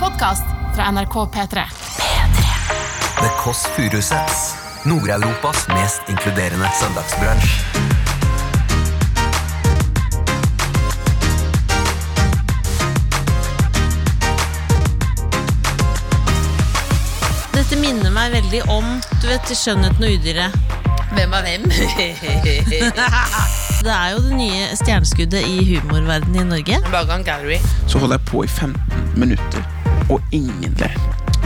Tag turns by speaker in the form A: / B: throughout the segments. A: podkast fra NRK P3.
B: The Kåss Furuseths. Nord-Europas mest inkluderende søndagsbransj.
C: Dette minner meg veldig om du vet, Skjønnheten og udyret.
D: Hvem er hvem?
C: Det er jo det nye stjerneskuddet i humorverdenen i Norge.
D: Bagan Gallery.
E: Så holder jeg på i 15 minutter, og ingen ler.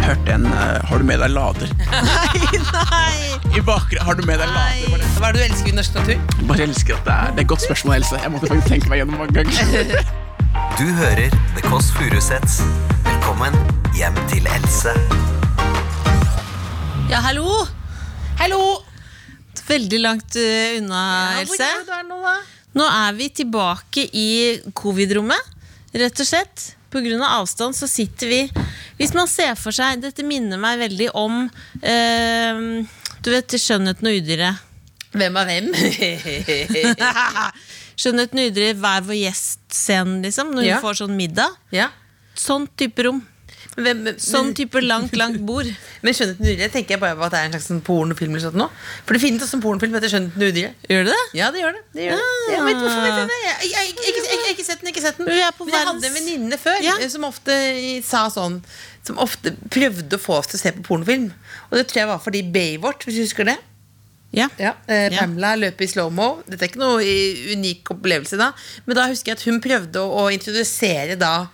E: Hørt en eh, 'Har du med deg lader?'
C: Nei!
E: I bakgrunnen. Har du med deg lader? Bare,
D: Hva er det du elsker i norsk natur?
E: jeg bare elsker at det er Det er et godt spørsmål, Else. Jeg måtte faktisk tenke meg gjennom mange ganger.
B: Du hører The Kåss Furuseths. Velkommen hjem til Else.
C: Ja, hallo!
D: Hallo!
C: Veldig langt eh, unna, Else.
D: nå, da?
C: Nå er vi tilbake i covid-rommet, rett og slett. Pga. avstand så sitter vi Hvis man ser for seg Dette minner meg veldig om eh, Du vet 'Skjønnheten og udyret'.
D: Hvem er hvem?
C: Skjønnheten og udyret, hver vår gjest-scenen, liksom. Når
D: Ja.
C: hun får sånn middag.
D: ja.
C: Sånn type rom.
D: Hvem, men,
C: Sånn type langt, langt bord.
D: men Skjønnheten og udyret tenker jeg bare på at det er en slags sånn pornofilm. eller sånt nå. For det finnes også en pornofilm etter Skjønnheten og udyret.
C: Gjør du det?
D: Ja, det gjør det. det, gjør det.
C: Ah.
D: Jeg vet, hvorfor vet jeg det? Jeg, jeg, jeg, jeg, jeg, jeg har ikke sett den. ikke sett den
C: Vi er på
D: Men jeg
C: verdens-
D: hadde en venninne før
C: Ja.
D: eh, som ofte i- sa sånn Som ofte prøvde å få oss til å se på pornofilm. Og det tror jeg var fordi Baywatch, hvis du husker det.
C: Ja.
D: Ja, eh,
C: Ja.
D: Pamela løp i slow-mo. Dette er ikke noe i- unik opplevelse da, men da husker jeg at hun prøvde å, å introdusere da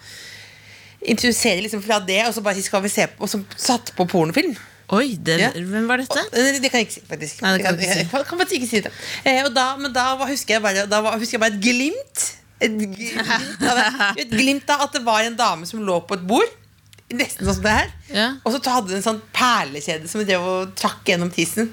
D: Introdusere liksom fra det, og så bare si, skal vi se på, og så satt på pornofilm.
C: Oi, det,
D: Ja.
C: hvem var dette?
D: Og- Nei, det kan jeg ikke si, faktisk.
C: Nei, det kan
D: Det
C: du ikke
D: kan,
C: si.
D: jeg kan- kan faktisk ikke si det. Eh, og da, men da var, husker jeg bare Da var, husker jeg bare et glimt. Et glimt, av, et glimt av at det var en dame som lå på et bord. Nesten sånn som det her.
C: Ja.
D: Og så hadde hun en sånn perlekjede som drev og trakk gjennom tissen.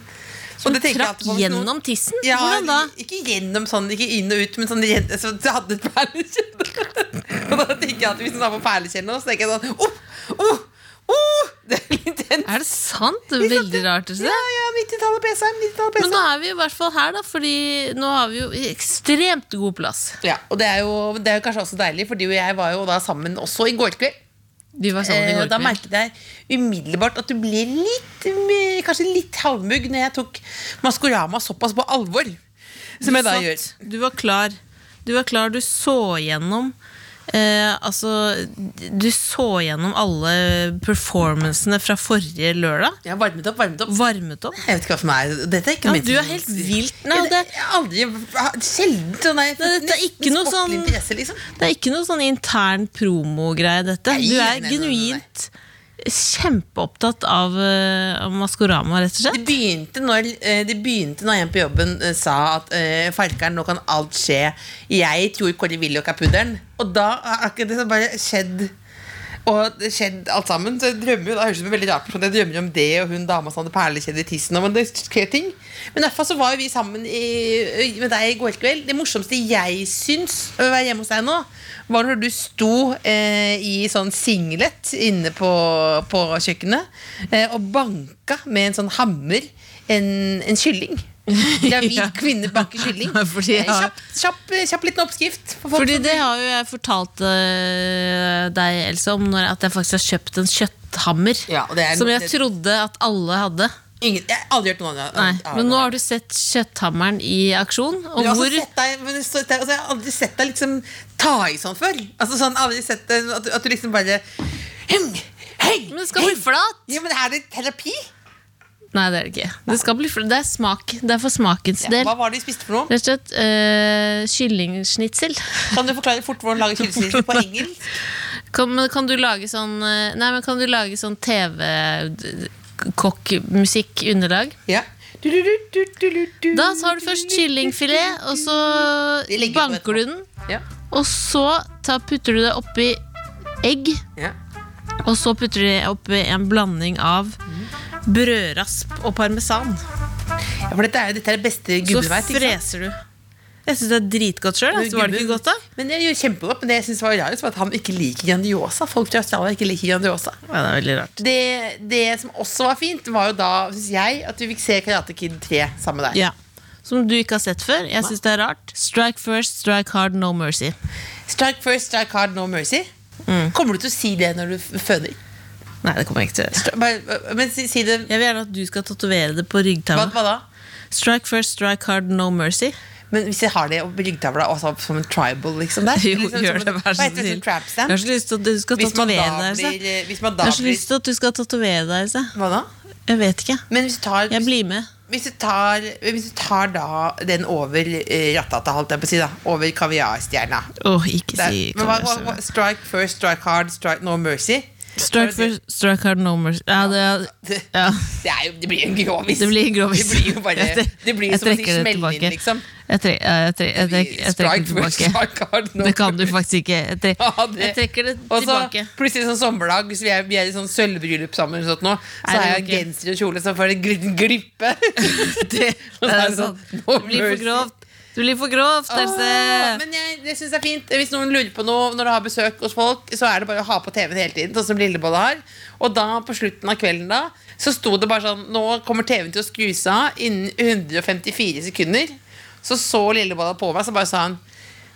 D: Som
C: Trakk gjennom tissen?
D: liksom- ja,
C: Hvordan da?
D: Ikke gjennom sånn, ikke inn og ut, men sånn redd, så det hadde et perlekjede. og da tenker jeg at hvis hun har på perlekjede nå, så tenker jeg sånn oh, oh, oh, Det er litt intenst.
C: Er det sant? Det er veldig rart å se.
D: Ja, ja, 90-tallet PC-en. 90-tallet
C: Men
D: PC.
C: nå er vi i hvert fall her, da, fordi nå har vi jo ekstremt god plass.
D: Ja, og det er, jo, det er jo kanskje også deilig, Fordi jeg var jo da sammen også i går kveld.
C: Vi var sammen i
D: Eh,
C: går
D: og da
C: kveld.
D: merket jeg umiddelbart at du ble litt eh, Kanskje litt halvmugg når jeg tok Maskorama såpass på alvor. Som jeg da
C: Satt.
D: gjør.
C: Du var klar. Du var klar, du så gjennom eh, Altså, du så gjennom alle performancene fra forrige lørdag.
D: Jeg varmet opp, varmet opp.
C: Varmet opp.
D: Jeg vet ikke hva for meg Dette er ikke
C: Ja,
D: ment
C: du
D: som-
C: er helt vilt. Nei,
D: Ja,
C: og
D: det,
C: det,
D: jeg har aldri Sjelden sånn nei,
C: Nei, dette er
D: nesten
C: ikke noe
D: sportlig
C: sånn-
D: interesse, liksom.
C: det er ikke noe sånn intern promogreie, dette.
D: Nei,
C: Du
D: nei,
C: er
D: nei, nei, nei.
C: genuint kjempeopptatt av, eh, av Maskorama, rett og slett.
D: Det begynte når, eh, det begynte når en på jobben eh, sa at eh, Farkeren, nå kan alt skje. Jeg tror Kåre Willoch er puddelen. Og da har akkurat det som bare skjedd. Og det skjedd alt sammen. Så jeg drømmer jo, da høres det ut som en veldig rart person. Jeg drømmer jo om det og hun dama som hadde perlekjede i tissen. og- Men det skjer ting. Men i hvert fall så var jo vi sammen i, med deg i går kveld. Det morsomste jeg syns å være hjemme hos deg nå, var når du sto eh, i sånn singlet inne på, på kjøkkenet eh, og banka med en sånn hammer en, en kylling. Gravid
C: Ja.
D: kvinne banker kylling.
C: Fordi jeg
D: Eh,
C: har-
D: Kjapp, kjapp, kjapp liten oppskrift. For folk
C: Fordi
D: som-
C: det har jo jeg fortalt eh, deg, Else, om når, at jeg faktisk har kjøpt en kjøtthammer.
D: Ja, og det er-
C: som jeg trodde at alle hadde.
D: Ingen, jeg har aldri hørt noen andre.
C: Nei, men nå har du sett kjøtthammeren i aksjon. Og
D: Men jeg har
C: hvor
D: også sett deg, men det står- det- altså, jeg har aldri sett deg liksom ta i sånn før. Altså sånn, aldri sett deg, at, du, at du liksom bare Heng! Heng!
C: Men det skal bli
D: heng!»
C: flat!
D: Ja, men er det terapi?
C: Nei, det er det ikke. Det, skal bli, fl- det er smak. Det er for smakens del.
D: Hva var det de spiste for noe?
C: Rett og slett eh, kyllingsnitsel.
D: Kan du forklare fort hvordan lage kyllingsnitsel på engelsk?
C: Kan, men kan du lage sånn eh, Nei, men kan du lage sånn TV-kokkmusikk-underlag?
D: Ja. Du, du, du, du, du, du,
C: Da tar du først kyllingfilet, og så
D: Det legger på
C: banker du den.
D: Ja.
C: Og så ta, putter du det oppi egg,
D: ja.
C: og så putter du det oppi en blanding av brødrasp og parmesan.
D: ja, for dette er jo dette er det beste
C: Så
D: gubben vet. ikke sant?
C: freser du. Jeg syns det er dritgodt sjøl.
D: Men
C: Altså, var det
D: gubben-
C: ikke godt, da?
D: Men det er jo kjempegodt, men det jeg synes var rarest, var at han ikke liker Grandiosa. Folk fra Australia ikke liker Grandiosa.
C: Ja, det er veldig rart.
D: det, det som også var fint, var jo da, synes jeg, at vi fikk se Karate Kid 3 sammen med deg.
C: Ja. Som du ikke har sett før. Jeg syns det er rart. Strike first, strike hard, no mercy. Mm.
D: Strike first, strike hard, no mercy. Kommer du til å si det når du f- føder? Nei, det kommer jeg ikke til å gjøre. Str- bare- øh, Men si, si det
C: Jeg vil gjerne at du skal tatovere det på
D: hva,
C: ryggtavla.
D: hva da?
C: Strike first, strike hard, no mercy.
D: Men hvis jeg har det på ryggtavla og så- som en tribal, liksom der
C: Jo,
D: liksom,
C: gjør
D: som-
C: det, vær
D: Hva
C: så
D: heter det,
C: snill.
D: sånn trap
C: Jeg har
D: stamp?
C: så lyst til at du skal
D: Hvis man
C: tatovere
D: da
C: deg.
D: blir,
C: Else.
D: eh, hvis man
C: Jeg
D: da
C: har så
D: blir
C: lyst til at du skal tatovere deg. Else.
D: Hva da?
C: Jeg vet ikke.
D: Men hvis du tar,
C: Jeg blir med.
D: hvis du tar, hvis du tar da den over eh, rattata, holdt jeg på å si, da over kaviarstjerna
C: Åh, ikke
D: Der.
C: si
D: Men hva, hva, hva, Strike first, strike hard, strike no mercy.
C: Strike first, strike hard, no mercy. Ja, det,
D: Det-
C: ja.
D: Det, er jo, det blir en grovis.
C: Det blir grovis.
D: Det blir jo bare
C: Jeg tre-
D: Det blir jo
C: jeg
D: som at de
C: trekker det
D: smeller inn,
C: tilbake.
D: liksom.
C: Jeg, tre, ja, jeg, tre, jeg, trek, jeg trekker
D: Strike
C: det
D: first,
C: tilbake.
D: strike hard, no
C: Det kan du faktisk ikke. Jeg, tre,
D: Ja, det-
C: jeg trekker det
D: Og så
C: tilbake.
D: plutselig sånn sommerdag, hvis vi er, vi er i sånn sølvbryllup sammen, og sånt nå, så
C: Nei, det
D: har
C: går
D: jeg
C: ikke.
D: genser og kjole, så får jeg en gl- glippe.
C: Det, det,
D: Og så er
C: er
D: det
C: sånn.
D: sånn,
C: det
D: no
C: blir for
D: mercy.
C: grovt. Det blir for grovt,
D: Åh,
C: Else.
D: Ah, Men jeg, jeg syns det er fint. Hvis noen lurer på noe når du har besøk hos folk, så er det bare å ha på TV-en hele tiden, sånn som Lillebolla har. Og da, på slutten av kvelden da, så sto det bare sånn Nå kommer TV-en til å skru seg av innen 154 sekunder. Så så Lillebolla på meg, så bare sa han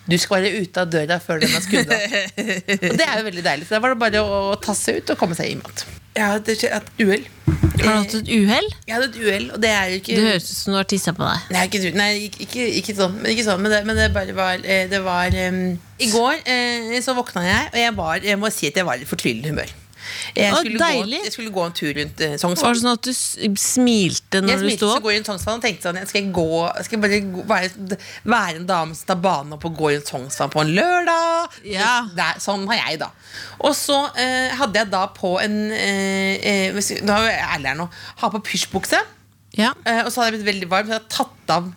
D: du skal være ute av døra før den har skrudd av. Og det er jo veldig deilig. For da var det bare å tasse ut og komme seg hjem igjen. Jeg hadde et uhell.
C: Har du hatt et uhell?
D: Jeg hadde et uhell, og det er jo ikke
C: Det høres ut som du har tissa på deg.
D: Nei, ikke, nei ikke, ikke, ikke sånn, men, ikke sånn men, det, men det bare var eh, Det var em, I går eh, så våkna jeg, og jeg var Jeg må si at jeg var i fortvilet humør. Jeg
C: Å,
D: skulle, gå,
C: deilig.
D: jeg skulle gå en tur rundt eh,
C: Var
D: Sognsvann.
C: det sånn at du s- smilte
D: Jeg
C: når du
D: smilte
C: sto
D: så
C: opp?
D: går jeg rundt Sognsvann og tenkte sånn jeg Skal jeg gå Skal jeg bare gå, være, være en dame som tar banen opp og går rundt Sognsvann på en lørdag?
C: Ja.
D: Der, sånn har jeg, da. Og så eh, hadde jeg da på en eh, eh, hvis- Nå er jeg ærlig her nå. Ha på pysjbukse.
C: Ja.
D: Eh, og så hadde jeg blitt veldig varm, så jeg hadde tatt av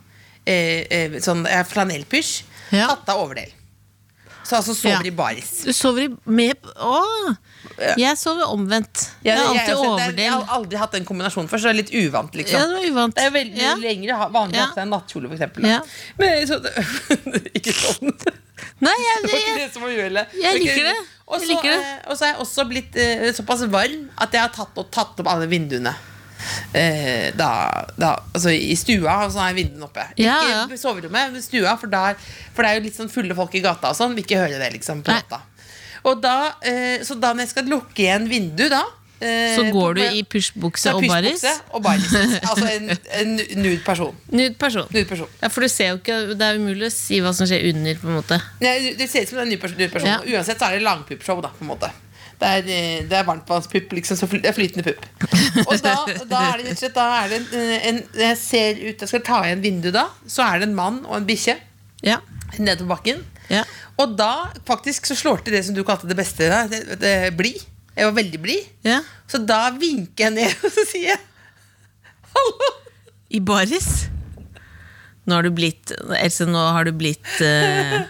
D: eh, eh, sånn eh, flanellpysj.
C: Ja.
D: Tatt av overdel. Så altså sover
C: Ja.
D: i baris.
C: Du sover i med Å! Jeg sover omvendt. Jeg har
D: Jeg- jeg-
C: alltid
D: altså, det er- Jeg
C: overdel.
D: har aldri hatt den kombinasjonen før, så det er litt uvant. liksom
C: Ja, det var uvant.
D: Det er veldig
C: Ja.
D: lengre, ha- vanlig å
C: Ja.
D: ha på seg en nattkjole, for eksempel.
C: Ja.
D: da. Men så, Ikke sånn.
C: Nei, jeg,
D: Det var ikke
C: jeg,
D: det som var uhellet.
C: jeg
D: Ok.
C: liker det.
D: Og
C: Jeg
D: så,
C: liker det.
D: eh, og så er jeg også blitt eh, såpass varm at jeg har tatt, og tatt opp alle vinduene. Eh, da, da, altså I stua, og så er vinduene oppe. Ikke
C: Ja, ja.
D: på soverommet, men stua, for, der, for det er jo litt sånn fulle folk i gata og sånn. Vil ikke høre det, liksom. På
C: Nei.
D: natta. Og da, eh, så da når jeg skal lukke igjen vinduet, da eh,
C: så
D: på-
C: går du
D: på-
C: i
D: så
C: pysjbukse
D: er
C: og baris.
D: pysjbukse og baris. Altså en, en nude person.
C: Nude person.
D: Nude person.
C: Ja, for du ser jo ikke, Det er umulig å si hva som skjer under. på en måte
D: Nei, det ser ut som det er en ny person. Ny person.
C: Ja.
D: Uansett så er det langpuppshow, da. på en måte det er, eh, det er varmtvannspupp, liksom. Så fly- det er flytende pupp. Og da, da er det rett og slett da er det en, eh, en, Jeg ser ut Jeg skal ta igjen vinduet da. Så er det en mann og en bikkje
C: Ja,
D: nede på bakken.
C: ja.
D: Og da faktisk så slår til det som du kalte det beste. Da. Det, det, blid. Jeg var veldig blid.
C: ja.
D: Så da vinker jeg ned, og så sier jeg hallo.
C: I baris. Nå har du blitt Else, nå har du blitt eh,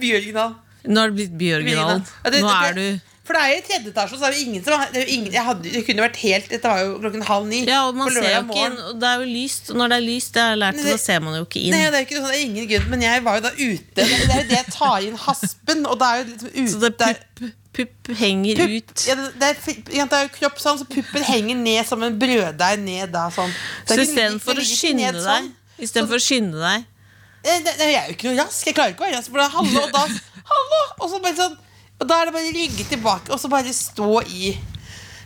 D: Bjørgendal.
C: Nå har du blitt Bjørgendalen.
D: Ja, det-
C: Nå
D: det-
C: er du
D: For det er jo i tredje etasje, så er det jo ingen som det er jo ingen, jeg hadde, Det kunne jo vært helt Dette var jo klokken halv ni.
C: Ja, og man
D: på
C: ser jo
D: lørdag
C: ikke inn.
D: morgen.
C: Og det er jo lyst. Og når det er lyst, det har jeg lært,
D: Men
C: da
D: det-
C: ser man jo ikke inn.
D: Nei, det er jo ikke sånn, det er ingen grunn, men jeg var jo da ute. Det er jo det jeg tar inn haspen, og det er jo liksom ute
C: Så det
D: der-
C: pupp, pupp henger
D: pupp-
C: ut.
D: Ja, det, det, er, fi- ja, det er jo kropp sånn, så puppen henger ned som en brøddeig ned da. Sånn. Det
C: Så
D: er ikke-
C: istedenfor
D: det
C: å
D: ligger ikke
C: skynde
D: ned
C: deg
D: sånn.
C: Istedenfor å skynde deg
D: Eh, det, det, jeg er jo ikke noe rask. Jeg klarer ikke å være rask. For det er hallo, og da hallo, og så bare sånn Og da er det bare å rygge tilbake, og så bare stå i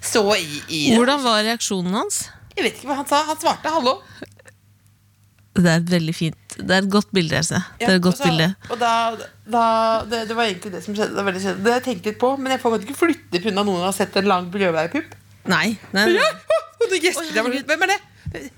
D: Stå i, i det.
C: Hvordan var reaksjonen hans?
D: Jeg vet ikke hva han sa. Han svarte hallo.
C: Det er et veldig fint Det er et godt bilde, Else. Det er et godt
D: og så,
C: bilde.
D: Og da, da det, det var egentlig det som skjedde. Det, var veldig kjedelig. det har jeg tenkt litt på, men jeg får faktisk ikke flytte pga. noen har sett en lang brødveigpupp.
C: Nei. nei, nei.
D: Ja, og det gjesper jeg bare. Hvem er det?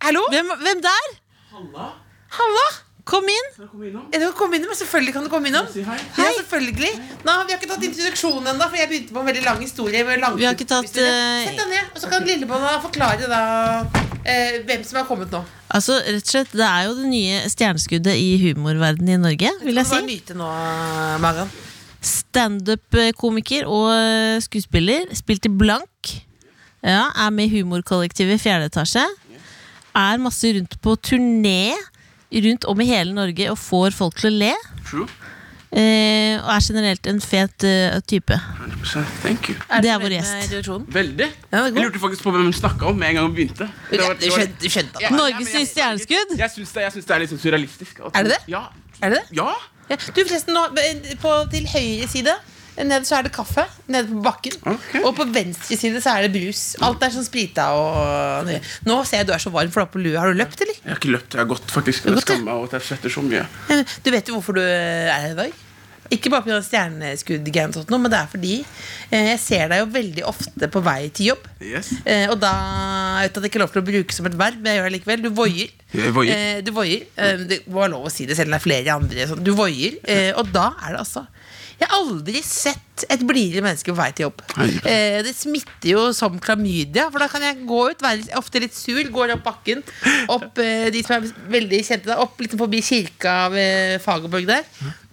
D: Hallo?
C: Hvem, hvem der?
D: Halla?
C: Kom inn!
D: Ja, du kan komme innom, selvfølgelig kan du komme innom. Ja, selvfølgelig. Nå, vi har ikke tatt introduksjonen ennå, for jeg begynte på en veldig lang historie. Med lang
C: Vi har ikke tatt, eh,
D: Sett deg ned, og så kan Lillebolla forklare da eh, hvem som har kommet nå.
C: Altså, rett og slett, Det er jo det nye stjerneskuddet i humorverdenen i Norge. vil jeg si
D: Bare nyte nå, Magan.
C: Standup-komiker og eh, skuespiller. Spilte blank. Ja, Er med i humorkollektivet i Fjerde etasje. Er masse rundt på turné rundt om i hele Norge og får folk til å le.
E: True.
C: Eh, og er generelt en fet eh, type.
E: 100%. Thank you.
C: Det er vår gjest.
E: Veldig.
D: Ja, det er
E: Jeg
D: godt.
E: lurte faktisk på hvem de snakka om med en gang vi begynte. Det var-
D: Du
E: det var-
D: skjønte, du skjønte
E: Ja,
D: at
C: Norges nye stjerneskudd!
E: Jeg syns det, jeg syns det er litt sånn surrealistisk. at-
D: Er det det?
E: Ja.
D: Er det det?
E: ja.
D: Ja. Du, forresten, nå, eh, på, til høyre side Nede så er det kaffe, nede på bakken.
E: Ok.
D: Og på venstre side så er det brus. Alt er sånn sprita og nøye. Nå ser jeg du er så varm, for du har på lue. Har du løpt, eller?
E: Jeg har ikke løpt, jeg har gått, faktisk.
D: har
E: Jeg
D: gått, ja.
E: skammer meg over at jeg svetter så mye.
D: Du vet jo hvorfor du eh, er her i dag? Ikke bare pga. stjerneskudd-greiene, og sånt noe, men det er fordi eh, jeg ser deg jo veldig ofte på vei til jobb.
E: Yes.
D: Eh, og da jeg vet at det ikke er lov til å bruke som et verb, men jeg gjør det likevel. Du voier.
E: Jeg voier.
D: Eh, du voier. Eh, det var lov å si det selv om det er flere andre. Sånn. Du voier. Eh, og da er det altså Jeg har aldri sett et blidere menneske på vei til jobb.
E: Nei.
D: Eh, det smitter jo som klamydia, for da kan jeg gå ut, være ofte litt sur, går opp bakken, opp eh, de som er veldig kjente der, opp litt forbi kirka ved Fagerborg der,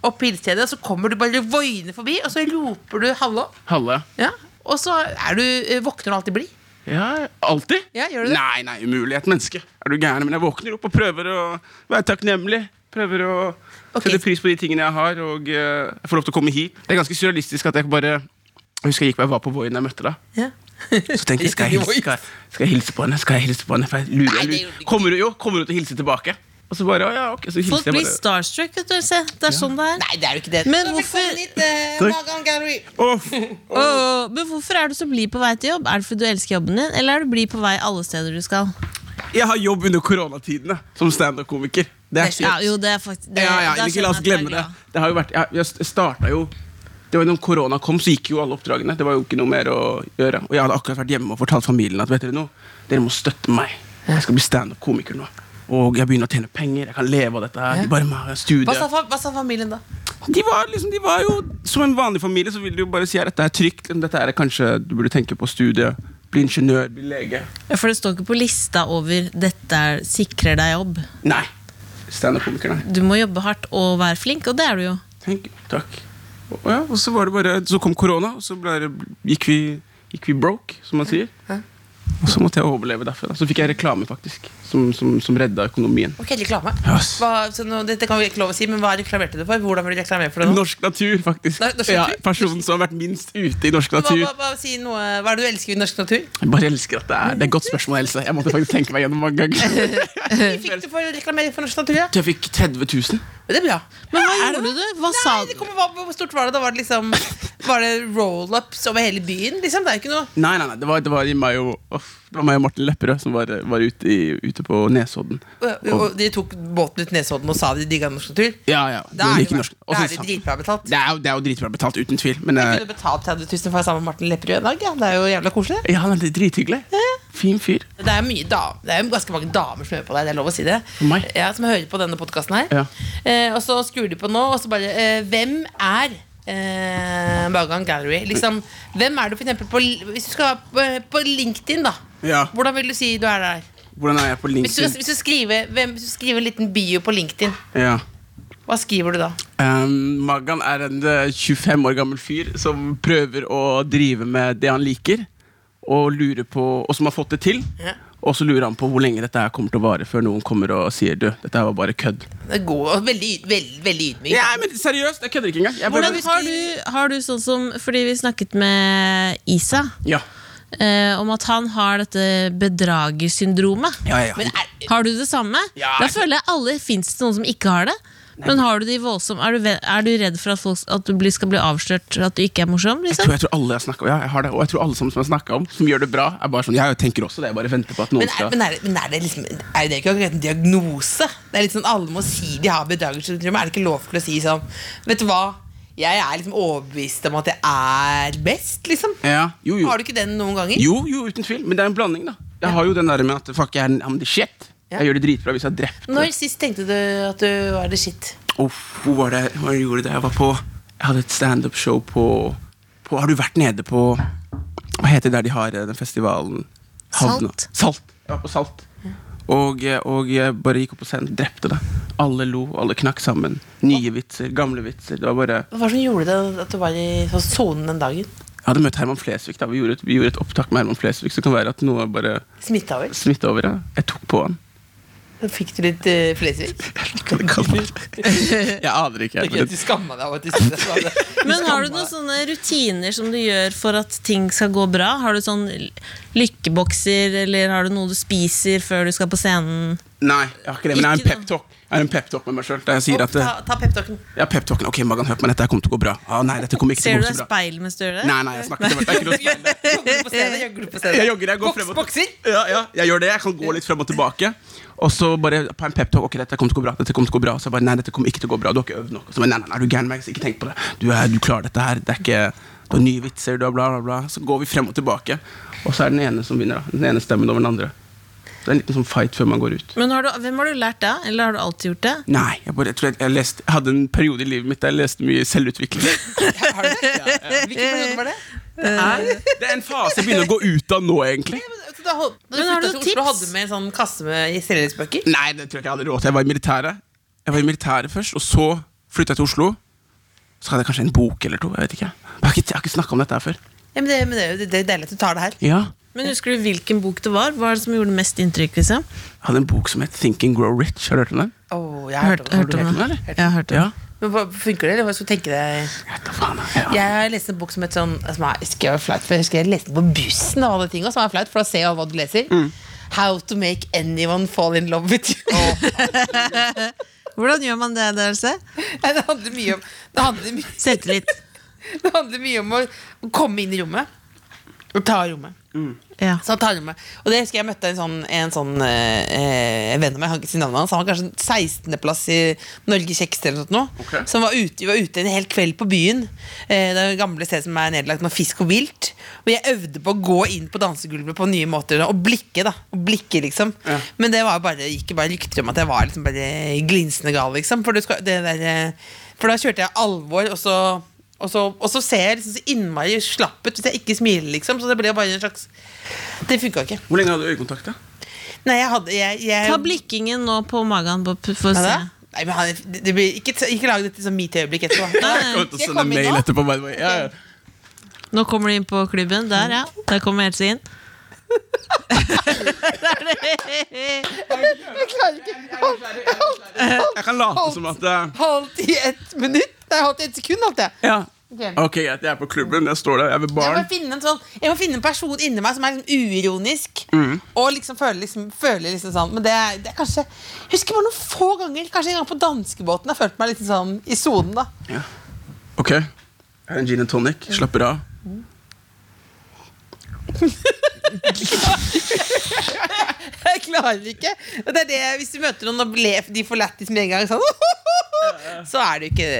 D: opp Pilstedet, og så kommer du bare voiende forbi, og så roper du 'hallo',
E: Halle.
D: ja, og så er du, eh, våkner du alltid blid.
E: Ja, alltid?
D: Ja, gjør du det?
E: Nei, nei, umulig. Jeg er et menneske. Er du gæren? Men jeg våkner opp og prøver å være takknemlig. Prøver å
D: Ok.
E: sette pris på de tingene jeg har, og eh, jeg får lov til å komme hit. Det er ganske surrealistisk at jeg bare Jeg husker jeg gikk på jeg var på Voi da jeg møtte deg.
D: Ja.
E: Så tenkte jeg, skal jeg, hilse, skal, jeg- skal jeg hilse på henne? Skal jeg hilse på henne? For jeg lurer,
D: Nei,
E: jeg
D: det gjorde du
E: lurer.
D: ikke.
E: Kommer, hun- jo, kommer hun til å hilse tilbake? Og så bare, å ja, ok Så
C: Folk
E: hilser jeg
C: blir
E: bare
C: starstruck, vet du. Se. Det er sånn det er.
D: Nei, det er jo ikke det.
C: Men
D: Så
C: hvorfor-
D: velkommen hit, eh,
E: Takk.
D: Magan Gallery.
E: Åh,
C: Åh, men hvorfor er du så blid på vei til jobb? Er det fordi du elsker jobben din, eller er du blid på vei alle steder du skal?
E: Jeg har jobb under koronatidene som standup-komiker. Det er
C: Ja, jo, det er faktisk det,
E: ja, ja,
C: da
E: ikke la oss
C: skjønner jeg at
E: glemme
C: du
E: det.
C: er glad.
E: Det har jo vært, jeg, jeg starta jo det var jo Når korona kom, så gikk jo alle oppdragene. Det var jo ikke noe mer å gjøre Og jeg hadde akkurat vært hjemme og fortalt familien at vet dere noe, dere må støtte meg. Jeg skal bli standup-komiker nå. Og jeg begynner å tjene penger. Jeg kan leve av dette. her De bare meg,
D: Hva sa,
E: studier
D: fa- hva sa familien da?
E: de var, liksom, de var jo Som en vanlig familie så ville de jo bare si at dette er trygt. Dette er kanskje du burde tenke på studiet. Bli ingeniør, bli lege.
C: Ja, For det står ikke på lista over 'dette er, sikrer deg jobb'.
E: Nei. Standup-komiker, nei.
C: Du må jobbe hardt og være flink, og det er du jo.
E: Tenk, takk. Og, ja, og så var det bare Så kom korona, og så ble det, gikk, vi, gikk vi broke, som man sier. Og så måtte jeg overleve derfra. Da. Så fikk jeg reklame, faktisk, som, som, som redda økonomien.
D: Ok, reklame.
E: Yes.
D: Hva, så nå, dette kan vi ikke lov å si, men hva reklamerte du for? Hvordan vil du reklamere for det nå?
E: Norsk natur, faktisk.
D: Nei, norsk
E: Ja,
D: natur?
E: personen som har vært minst ute i norsk
D: Hva,
E: natur.
D: hva, hva, si noe, hva er det du elsker i norsk natur?
E: Jeg bare elsker at det er Det er et godt spørsmål, Else. Jeg måtte faktisk tenke meg gjennom mange ganger.
D: Hva fikk du for å reklamere for norsk natur? Ja?
E: Jeg fikk 30 000.
D: Det er bra.
C: Men hva gjorde du? Hva sa
D: Nei,
C: du?
D: det kommer, hva, hvor stort var det? Da var det liksom Var det roll-ups over hele byen? Liksom, det er jo ikke noe
E: Nei, nei, nei, det var, det var, i meg, og, uff, det var meg og Martin Lepperød som var, var ute, i, ute på Nesodden.
D: og, og De tok båten ut Nesodden og sa de digga norsk natur?
E: Ja, ja. Det
D: Da er
E: var like
D: det,
E: norsk. Og
D: da
E: så
D: er det
E: sa-
D: dritbra betalt.
E: Det er jo, det er jo dritbra betalt, uten tvil. Men eh,
D: Kunne betalt 30 000 for å være sammen med Martin Lepperød i dag. Ja. Det er jo jævla koselig.
E: ja, han er drithyggelig. Fin fyr.
D: Det er, mye dam- det er jo ganske mange damer som hører på deg, det er lov å si det.
E: Meg?
D: Ja, som hører på denne podkasten her.
E: Ja.
D: Eh, og så skrur de på nå, og så bare eh, Hvem er eh, Magan Gallery? Liksom, hvem er du for eksempel på Hvis du skal på, på LinkedIn, da.
E: Ja.
D: Hvordan vil du si du er der?
E: Hvordan er jeg på
D: Hvis du,
E: LinkedIn?
D: hvis du, skriver, hvem, hvis du skriver en liten bio på LinkedIn,
E: Ja.
D: hva skriver du da?
E: Um, Magan er en eh, 25 år gammel fyr som prøver å drive med det han liker, og, lurer på, og som har fått det til.
D: Ja.
E: Og så lurer han på hvor lenge dette her kommer til å vare før noen kommer og sier du, dette her var bare kødd.
D: Det går veldig, yd- veld, veldig ydmyk.
E: Ja, men seriøst, jeg kødder ikke engang. Jeg
C: Hvordan
E: bare,
C: har du, har du sånn som Fordi vi snakket med Isa
E: ja.
C: eh, om at han har dette bedragersyndromet.
E: Ja, ja,
D: Men
E: ja.
D: er,
C: Har du det samme?
E: Ja,
C: da
E: jeg-
C: føler jeg alle fins det noen som ikke har det. Men har du de voldsomme, er, du, ve- er du redd for at, folk, at du blir, skal bli avslørt at du ikke er morsom?
E: Jeg
C: Liksom?
E: tror, jeg tror alle jeg snakker om, ja, jeg har det, og jeg tror alle sammen som jeg snakker om, som gjør det bra, er bare sånn Ja, jeg tenker også det, jeg bare venter på at noen
D: Men, er,
E: skal
D: men, er, det- men er det liksom Er det ikke akkurat en diagnose? Det er litt sånn Alle må si de har bedragersyndrom. Er det ikke lov til å si sånn Vet du hva? Jeg er liksom overbevist om at jeg er best, liksom.
E: ja, jo, jo.
D: Har du ikke den noen ganger?
E: Jo, jo, uten tvil. Men det er en blanding, da. Jeg har jo den der med at fuck, jeg er en- I'm the shit.
D: Ja.
E: Jeg gjør det dritbra hvis jeg har drept
D: Når sist tenkte du at du var det shit?
E: Uff, hvor var det hvor gjorde det jeg var på? Jeg hadde et standup-show på, på Har du vært nede på Hva heter det der de har eh, den festivalen? Havna-
C: Salt.
E: Salt. Jeg var på Salt. Og, eh, og jeg bare gikk opp på scenen, drepte det. Alle lo, alle knakk sammen. Nye vitser, gamle vitser. Det var bare
D: Hva var det som gjorde det at du var i sånn sonen den dagen?
E: Jeg hadde møtt Herman Flesvig. da Vi gjorde et, vi gjorde et opptak med Herman Flesvig, så det kan være at noe bare
D: Smitta over?
E: smitta over. ja. Jeg tok på han.
D: Fikk du litt uh, flesvig?
E: Kan det kalles? Jeg aner ikke.
D: Det er ikke
E: jeg, Men
D: at Du skamma deg over at du sa det. var det. Du
C: Men har du
D: skamma
C: noen
D: deg.
C: sånne rutiner som du gjør for at ting skal gå bra? Har du sånn lykkebokser, eller har du noe du spiser før du skal på scenen?
E: nei, jeg har ikke det, men jeg er en
C: Ikke da.
E: peptalk. Jeg har en peptalk med meg sjøl der jeg sier at
D: Ta, ta peptalken.
E: Ja, peptalken. Ok, Magan, hør på meg, dette her kommer til å gå bra. Ah, nei, dette kommer ikke til
C: Ser
E: å
C: du
E: gå
C: deg i
E: så bra.
C: speilet mens du gjør det?
E: Nei, nei, jeg snakker til meg. Det er ikke noe speil der.
D: Jogger du på stedet? Jogger du på stedet?
E: Jeg jogger, jeg går
D: Boks-
E: frem og
D: Bokser?
E: Ja, ja, jeg gjør det. Jeg kan gå litt frem og tilbake. Og så bare på en peptalk. Ok, dette kommer til å gå bra. Dette kommer til å gå bra. Og så bare nei, dette kommer ikke til å gå bra. Du har ikke øvd nok. Og så bare nei, nei, nei, er du gæren, Max? Ikke tenk på det. Du, er, du klarer dette her. Det er ikke du har nye vitser, du har bla, bla, bla. Så går vi frem og tilbake. Og så er det den ene som vinner, da. Den ene stemmen over den andre. Det er en liten sånn fight før man går ut.
C: Men har du, hvem har du lært det? av? Eller har du alltid gjort det?
E: Nei, jeg, bare, jeg tror jeg, jeg, leste, jeg hadde en periode i livet mitt der jeg leste mye selvutvikling.
D: Har du- Hvilken periode var det?
C: Eh,
E: Det er en fase jeg begynner å gå ut av nå, egentlig.
D: Så Da, hold- da du
C: Men har
D: flytta
C: du
D: til
C: tips?
D: Oslo, hadde du med en sånn kasse med selvhjelpsbøker?
E: Nei, det tror jeg ikke jeg hadde råd til. Jeg var i militæret. Jeg var i militæret først, og så flytta jeg til Oslo. Så hadde jeg kanskje en bok eller to. Jeg vet ikke. Jeg har ikke, jeg har ikke snakka om dette her før.
D: Ja, men det, men det, er jo- det er jo deilig at du tar det her.
E: Ja,
C: Men husker du hvilken bok det var? Hva er det som gjorde mest inntrykk? liksom?
E: Jeg hadde en bok som het Think and Grow Rich. Har du hørt om den?
D: Oh, jeg
C: Jeg
D: har
C: har
D: hørt om det.
C: hørt om
E: den,
C: det.
E: eller?
C: Jeg har hørt om
E: Ja.
C: det.
D: Men hva- Funker det, eller hva skal du tenke deg?
E: Jeg vet da faen, jeg. ja.
D: Jeg har lest en bok som het sånn som er, husker jeg var flaut, for jeg husker jeg leste den på bussen, og alle ting også, som er flaut, for da ser jeg hva du leser. How to make anyone fall in love with you.
C: Hvordan gjør man det? Dere?
D: Nei, det handler mye om det handler, my-
C: Selvtillit.
D: det handler mye om å å komme inn i rommet og ta rommet.
C: Ja.
D: Så han tar med meg. Og det husker jeg møtte en sånn, en sånn eh, eh, venn av meg, jeg kan ikke si navnet hans, han var kanskje 16.-plass i Norges kjekkeste eller noe sånt.
E: Ok.
D: nå. Som var ute, vi var ute en hel kveld på byen. Eh, det er jo gamle sted som er nedlagt med fisk og vilt. Og jeg øvde på å gå inn på dansegulvet på nye måter og blikke, da. Og blikke, liksom.
E: Ja.
D: Men det var jo bare, gikk jo bare rykter om at jeg var liksom bare glinsende gal, liksom. For, du skal, det der, eh, for da kjørte jeg alvor, og så og så, og så ser jeg liksom så innmari slapp ut hvis jeg ikke smiler, liksom. Så det ble jo bare en slags det funka ikke.
E: Hvor lenge hadde du øyekontakt? da?
D: Nei, jeg hadde jeg, jeg,
C: Ta blikkingen nå på magen. På, p- for å
D: Nei,
C: se.
D: da. Nei, men han, det blir, ikke, ikke lag dette som meet-øyeblikk etterpå.
E: Jeg
D: Nei,
E: kommer til å
D: jeg
E: sende
D: kom
E: en
D: inn
E: mail
D: nå.
E: etterpå. By the way. Ja, ja.
C: Nå kommer du inn på klubben. Der, ja. Der kommer Else inn.
D: Jeg klarer ikke.
E: Jeg kan late som at eh,
D: Halvt i ett minutt. Nei, halvt i ett sekund, holdt jeg.
E: Ja.
D: Ok.
E: Ok, greit, jeg er på klubben. Jeg står der, jeg er
D: Jeg
E: ved
D: må,
E: baren.
D: finne en sånn, jeg må finne en person inni meg som er liksom uironisk. Og liksom føler liksom, føler liksom sånn Men det, er- det er kanskje Jeg husker bare noen få ganger. Kanskje en gang på danskebåten. Jeg følte meg litt sånn i sonen, da.
E: Ja. Ok. Jeg har en gin and tonic. Slapper av.
D: Jeg klarer ikke. Og det er det, hvis du møter noen og ble- de får lættis med en gang, sånn, så er det jo ikke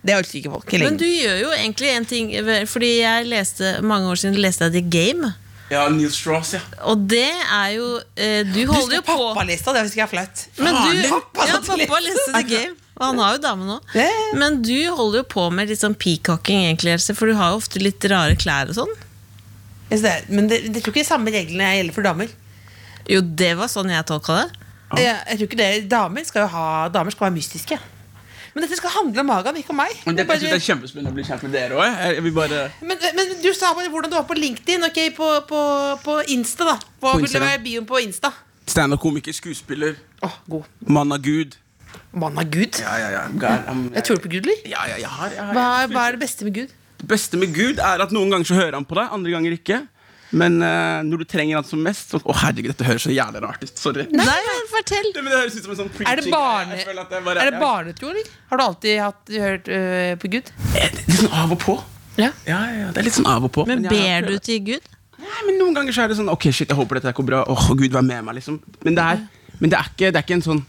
D: Det orker ikke folk i
C: Men
D: lengden.
C: du gjør jo egentlig en ting Fordi jeg leste mange år siden leste jeg The Game.
E: Ja, Neil Strauss, ja.
C: Og det er jo eh, Du holder
D: Du husker
C: jo på
D: pappalista, det husker jeg er flaut.
C: Men du,
D: Faen, pappa,
C: ja,
D: så
C: pappa
D: trist.
C: leste The Game, og han har jo dame nå.
D: Ja, ja.
C: Men du holder jo på med litt sånn peacocking, egentlig, Else, for du har jo ofte litt rare klær og sånn.
D: Jeg synes det er- Men det, det tror ikke de samme reglene gjelder for damer.
C: Jo, det var sånn jeg tolka det.
D: Jeg, jeg tror ikke det, Damer skal jo ha Damer skal være mystiske. Men dette skal handle om Magan, ikke om meg.
E: Men det,
D: Bare-
E: jeg synes det er kjempespennende å bli kjent med dere òg. Jeg Jeg vil bare
D: men, men du sa bare hvordan du var på LinkedIn, ok, på, på, på Insta, da. Hva
E: På
D: ville
E: Instagram.
D: være bioen på Insta?
E: Standup-komiker, skuespiller,
D: Åh, god.
E: mann av Gud.
D: Mann av Gud.
E: Ja, ja, ja. God, I'm-
D: Jeg tror på Gud, eller?
E: ja, ja, jeg har, jeg har.
D: Hva, hva er det beste med Gud?
E: Det beste med Gud er at noen ganger så hører han på deg, andre ganger ikke. Men eh, når du trenger han som mest så, Å, herregud, dette høres så jævlig rart ut. Sorry.
C: Nei, men fortell!
E: Det, men det høres ut som en sånn preaching.
D: Er det, barne,
E: Jeg føler at jeg bare-
D: er det barnetro, eller? Har du alltid hatt, hørt øh, på Gud?
E: Ja, det er litt sånn av og på.
D: Ja.
E: Ja, ja, det er litt sånn av og på.
C: Men
E: jeg- jeg
C: ber du
E: prøver.
C: til Gud?
E: Nei, men Noen ganger så er det sånn Ok, shit, jeg håper dette her går bra. Åh, Gud, vær med meg, liksom. Men det er, men det er, ikke, det er ikke en sånn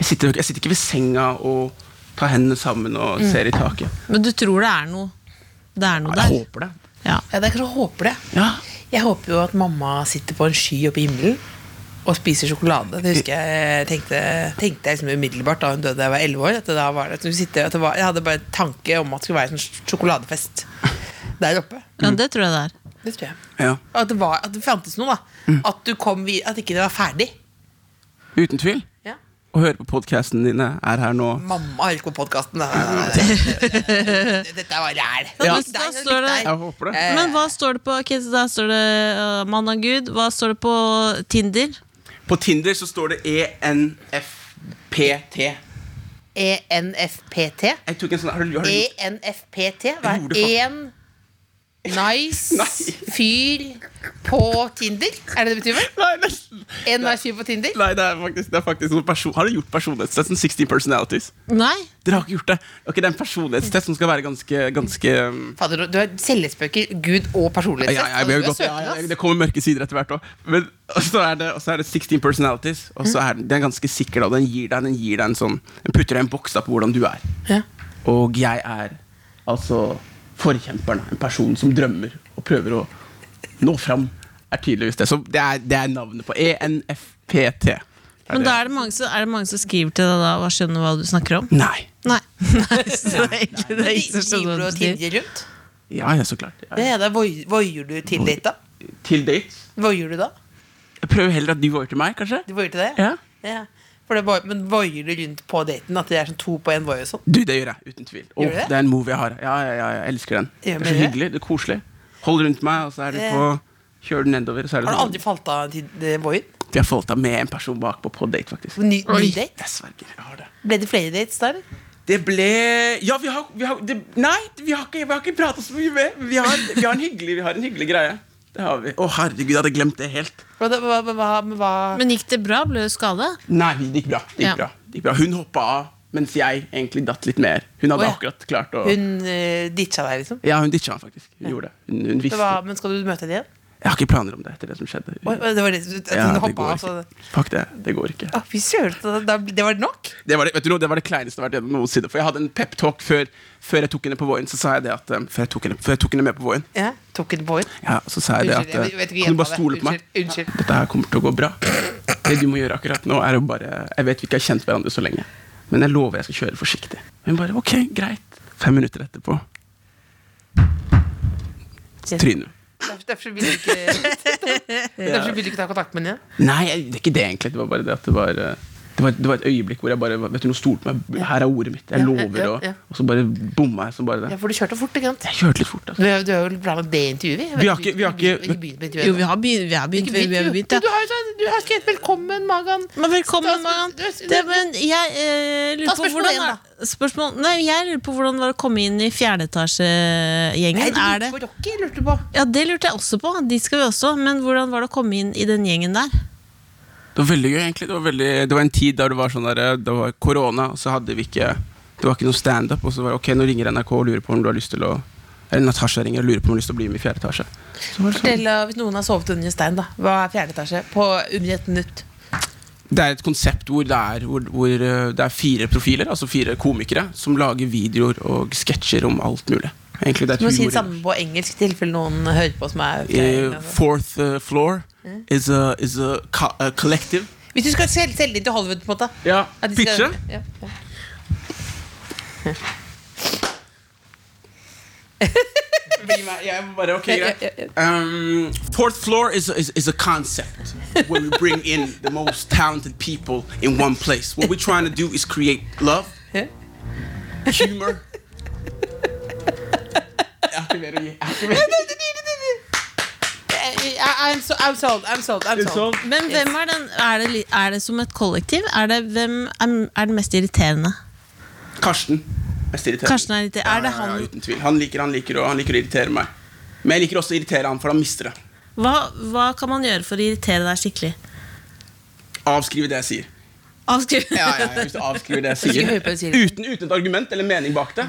E: jeg sitter, jeg sitter ikke ved senga og tar hendene sammen og
D: Mm.
E: ser i taket.
C: Men du tror det er noe? Det er noe
E: Jeg
C: der?
E: håper det.
C: Ja.
D: Ja, det er kanskje å håpe det.
E: Ja.
D: Jeg håper jo at mamma sitter på en sky oppe i himmelen og spiser sjokolade. Det husker jeg tenkte, tenkte jeg liksom umiddelbart da hun døde da jeg var 11 år. At det da var, at hun sitter, at det var, jeg hadde bare en tanke om at det skulle være en sånn sjokoladefest der oppe.
C: ja, det tror jeg det er.
D: Det tror jeg.
E: ja.
D: Og At det, var, at det fantes noe, da. At, du kom, vid- at ikke det var ferdig.
E: Uten tvil.
D: Ja.
E: Å høre på podkastene dine er her nå.
D: Mamma hører ikke på podkasten. Dette var ræl.
C: Ja.
D: Likte deg,
C: Da står det-
D: likte deg.
E: Jeg håper det.
C: Men hva står det på Ok, så der står det uh, mann av Gud. Hva står det på Tinder?
E: På Tinder så står det E ENFPT.
D: ENFPT.
C: E
D: E-
E: Jeg tok en sånn, har du, har du,
D: ENFPT? Hva
E: Jeg
D: er
E: gjorde det
D: en Nice fyr på Tinder? Er det det betyr? vel?
E: Nei, nesten.
D: En nice fyr på Tinder?
E: Nei, det er faktisk, det er faktisk noen person Har dere gjort personlighetstest? Sånn 16 personalities?
C: Nei.
E: Dere har ikke gjort det? Ok, Det er en personlighetstest som skal være ganske, ganske um,
D: Fader, du har selvspøker, Gud og personlighetstest.
E: Ja, ja, jeg
D: Du er
E: vil godt-
D: søkende,
E: ja, ja,
D: ass.
E: det kommer mørke sider etter hvert òg. Men og så er, det- og så er det 16 personalities, og så er den, den er ganske sikker. Da. Den gir deg, den gir deg en sånn Den putter deg i en boks da på hvordan du er.
D: Ja.
E: Og jeg er altså forkjemperen. En person som drømmer og prøver å nå fram. Er tydeligvis det. Så det er, det er navnet på E ENFPT. Er
C: Men
E: det-
C: da er det, mange som, er det mange som skriver til deg da og skjønner hva du snakker om?
E: Nei.
C: Nei. så det er ikke, det er ikke så
D: Driver du
C: skjønner
D: og
C: hva du sier.
D: Tinder rundt?
E: Ja, ja, så klart.
D: Det
E: Ja.
D: er da voi- Voier du til date, da?
E: Til dates.
D: Voier du da?
E: Jeg prøver heller at du voier til meg, kanskje.
D: Du voier til det?
E: Ja.
D: Ja. For det er bare, men voier du rundt på daten? At det er sånn to på én voi og sånn?
E: Du, det gjør jeg, uten tvil. Åh,
D: Gjør du det?
E: det? er en move jeg har. Ja, ja, ja, jeg elsker den. Det
D: Ja,
E: er
D: men
E: så
D: det-
E: hyggelig, det er koselig. Hold rundt meg, og så er du
D: Ja.
E: på Kjører du nedover, så er det
D: Har du
E: sånn.
D: aldri falt av til det voien?
E: Vi har falt av med en person bakpå på date, faktisk.
D: Ny, ny date?
E: Jeg sverger. Jeg har det.
D: Ble det flere dates der?
E: Det ble Ja, vi har, vi har det, Nei, vi har ikke, vi har ikke prata så mye med. Vi har, vi, har en hyggelig, vi har en hyggelig greie. Det har vi. Å, herregud, jeg hadde glemt det helt.
D: Hva, hva, hva, hva- hva?
C: Men gikk det bra? Ble du skada?
E: Nei, det gikk bra. Det gikk,
C: Ja.
E: bra. Det gikk bra. Hun hoppa av, mens jeg egentlig datt litt mer. Hun
D: Å,
E: hadde
D: ja.
E: akkurat klart å
D: Hun eh, ditcha deg, liksom?
E: Ja, hun ditcha han faktisk. Hun gjorde det. Hun, hun
D: Det
E: visste.
D: var, men skal du møte henne igjen?
E: Jeg har ikke planer om det etter det som skjedde.
D: Oi, oi, det var det, at
E: Ja,
D: hun
E: det
D: hoppa
E: går
D: av, altså. så
E: ikke. Fuck det. Det går ikke.
D: Å, Fy søren, så da- det var nok?
E: Det var det, vet du, noe, det var det kleineste jeg har vært gjennom noensinne. For jeg hadde en pep-talk før, før jeg tok henne på Voien. Så sa jeg det at um, Før jeg tok henne, før jeg tok henne med på Voien,
D: Ja, Tok hun på henne?
E: ja, så sa jeg det at uh,
D: jeg vet ikke, gjenta
E: Kan du bare
D: det.
E: stole på meg?
D: Unnskyld, Unnskyld.
E: Dette her kommer til å gå bra. Det du må gjøre akkurat nå, er å bare Jeg vet vi ikke har kjent hverandre så lenge, men jeg lover jeg skal kjøre forsiktig. Hun bare OK, greit. Fem minutter etterpå Trynet.
D: Derfor, derfor vil du ikke Derfor vil du ikke ta kontakt med henne igjen?
E: Nei, jeg- det er ikke det egentlig. Det var bare det at det var eh, det var, det var et øyeblikk hvor jeg bare Vet du, nå stolte på meg. Her er ordet mitt. Jeg
D: Ja,
E: lover.
D: ja,
E: Og,
D: ja.
E: og så bare bomma jeg som bare
D: Ja,
E: det.
D: for du kjørte fort, ikke sant?
E: Jeg kjørte litt fort,
D: Du
E: altså.
D: har du har jo planlagt det intervjuet? Jeg vet
E: Vi har ikke- vi har ikke-
D: vi begynt med intervjuet
C: Jo, vi har begynt. Vi har begynt, vi har begynt ja.
D: Du har jo sånn- du har skrevet 'velkommen, Magan'.
C: Men velkommen, Magan.
D: Du- du-
C: Det, men jeg eh,
D: Ta
C: lurer på
D: spørsmål
C: hvordan
D: igjen,
C: spørsmål, Nei, jeg lurer på hvordan det var å komme inn i
D: Nei,
C: fjerdeetasjegjengen.
D: du
C: Er det
D: lurte på Rocky, lurte du på.
C: Ja, det lurte jeg også på. De skal vi også. Men hvordan var det å komme inn i den gjengen der?
E: Det var veldig gøy, egentlig. Det var, veldig, det var en tid der det var sånn der, det var korona, og så hadde vi ikke Det var ikke noe standup. Og så var det ok, nå ringer NRK og lurer på om du har lyst til å Eller Natasha ringer og lurer på om hun har lyst til å bli med i fjerde etasje. Så var det, sånn.
D: Fortell eh, hvis noen har sovet under en stein, da. Hva er fjerde etasje? På under et minutt.
E: det er et konsept hvor det er, hvor, hvor eh, det er fire profiler, altså fire komikere, som lager videoer og sketsjer om alt mulig. Egentlig, det er
D: Du må si
E: humor
D: det samme på engelsk i tilfelle noen hører på som er fra
E: Uh,
C: altså.
D: England.
E: fourth uh, floor is a, is a, co- a collective.
D: Hvis du skal selge, selge inn til Hollywood, på en måte.
E: Ja,
D: At de skal-
E: pitche.
D: Ja, ja.
E: Ja, bare, ok, greit. Um, fourth floor is, is, is a concept where we bring in the most talented people in one place. What we're trying to do is create love, humor Jeg har ikke mer å gi. Jeg har ikke mer.
D: Eh, I, I, I'm, so, I'm sold. I'm sold. I'm sold.
C: Men hvem er den Er det, li- er det som et kollektiv? Er det, hvem er, er det mest irriterende?
E: Karsten. Mest irriterende.
C: Karsten er irriterende. Er det
E: Ja, ja,
C: han
E: uten tvil. Han liker, han, liker, å- han liker å irritere meg. Men jeg liker også å irritere han, for han mister det.
C: hva, hva kan man gjøre for å irritere deg skikkelig?
E: Avskrive det jeg sier.
C: Avskriv.
E: ja, ja, ja, hvis du avskriver det
D: Hvis
E: jeg
D: ikke hører på det
E: sier
D: jeg sier.
E: uten, uten et argument eller mening bak det,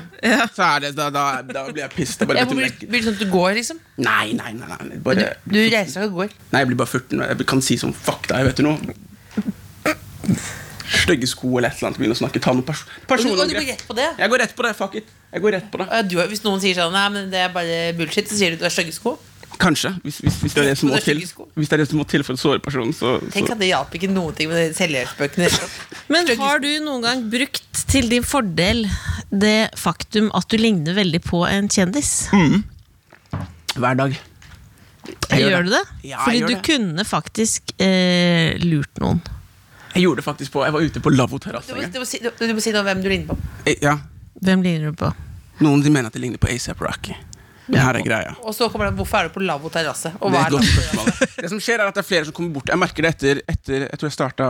E: så er det, da, da, da blir jeg pissed. Jeg
D: Ja,
E: bare,
D: hvor blir,
E: vet du,
D: blir det sånn at du går, liksom?
E: nei, nei, nei, nei, nei,
D: Du,
E: bare,
D: du reiser deg og går.
E: nei, jeg blir bare 14. og Jeg kan si sånn fuck deg, vet du noe. Stygge sko eller et eller annet. Begynne å snakke. Ta noen pers
D: Og du, og du
E: personangrep.
D: går rett på det? ja.
E: Jeg går rett på det. Fuck it. Jeg går rett på det.
D: Ja, Du, hvis noen sier sånn Nei, men det er bare bullshit, så sier du at du har stygge sko.
E: Kanskje. Hvis, hvis, hvis det er det som
D: Men
E: må
D: det er
E: til
D: stygge sko.
E: Hvis det er det som må til for å såre personen, så,
D: Tenk
E: så
D: at det hjalp ikke noen ting med de selvhjelpsbøkene.
C: Men har du noen gang brukt til din fordel det faktum at du ligner veldig på en kjendis?
E: Hver dag. Jeg
C: Gjør,
E: gjør
C: du det?
E: det. Ja, jeg
C: Fordi
E: gjør
C: du
E: det.
C: kunne faktisk eh, lurt noen.
E: Jeg gjorde det faktisk på Jeg var ute på
D: Du må,
E: lavvo-terrassen. en gang.
D: du, må si, du, du må si noe om hvem du ligner på.
E: Eh, Ja.
C: Hvem ligner du på?
E: Noen de mener at det ligner på ASAP Rocky. Men her er greia.
D: Og så kommer det hvorfor er du på lavvo terrasse? Og
E: Det
D: hva
E: er et
D: er
E: godt
D: lavvo?
E: spørsmål. Det som skjer, er at det er flere som kommer bort. Jeg merker det etter, etter Jeg tror jeg starta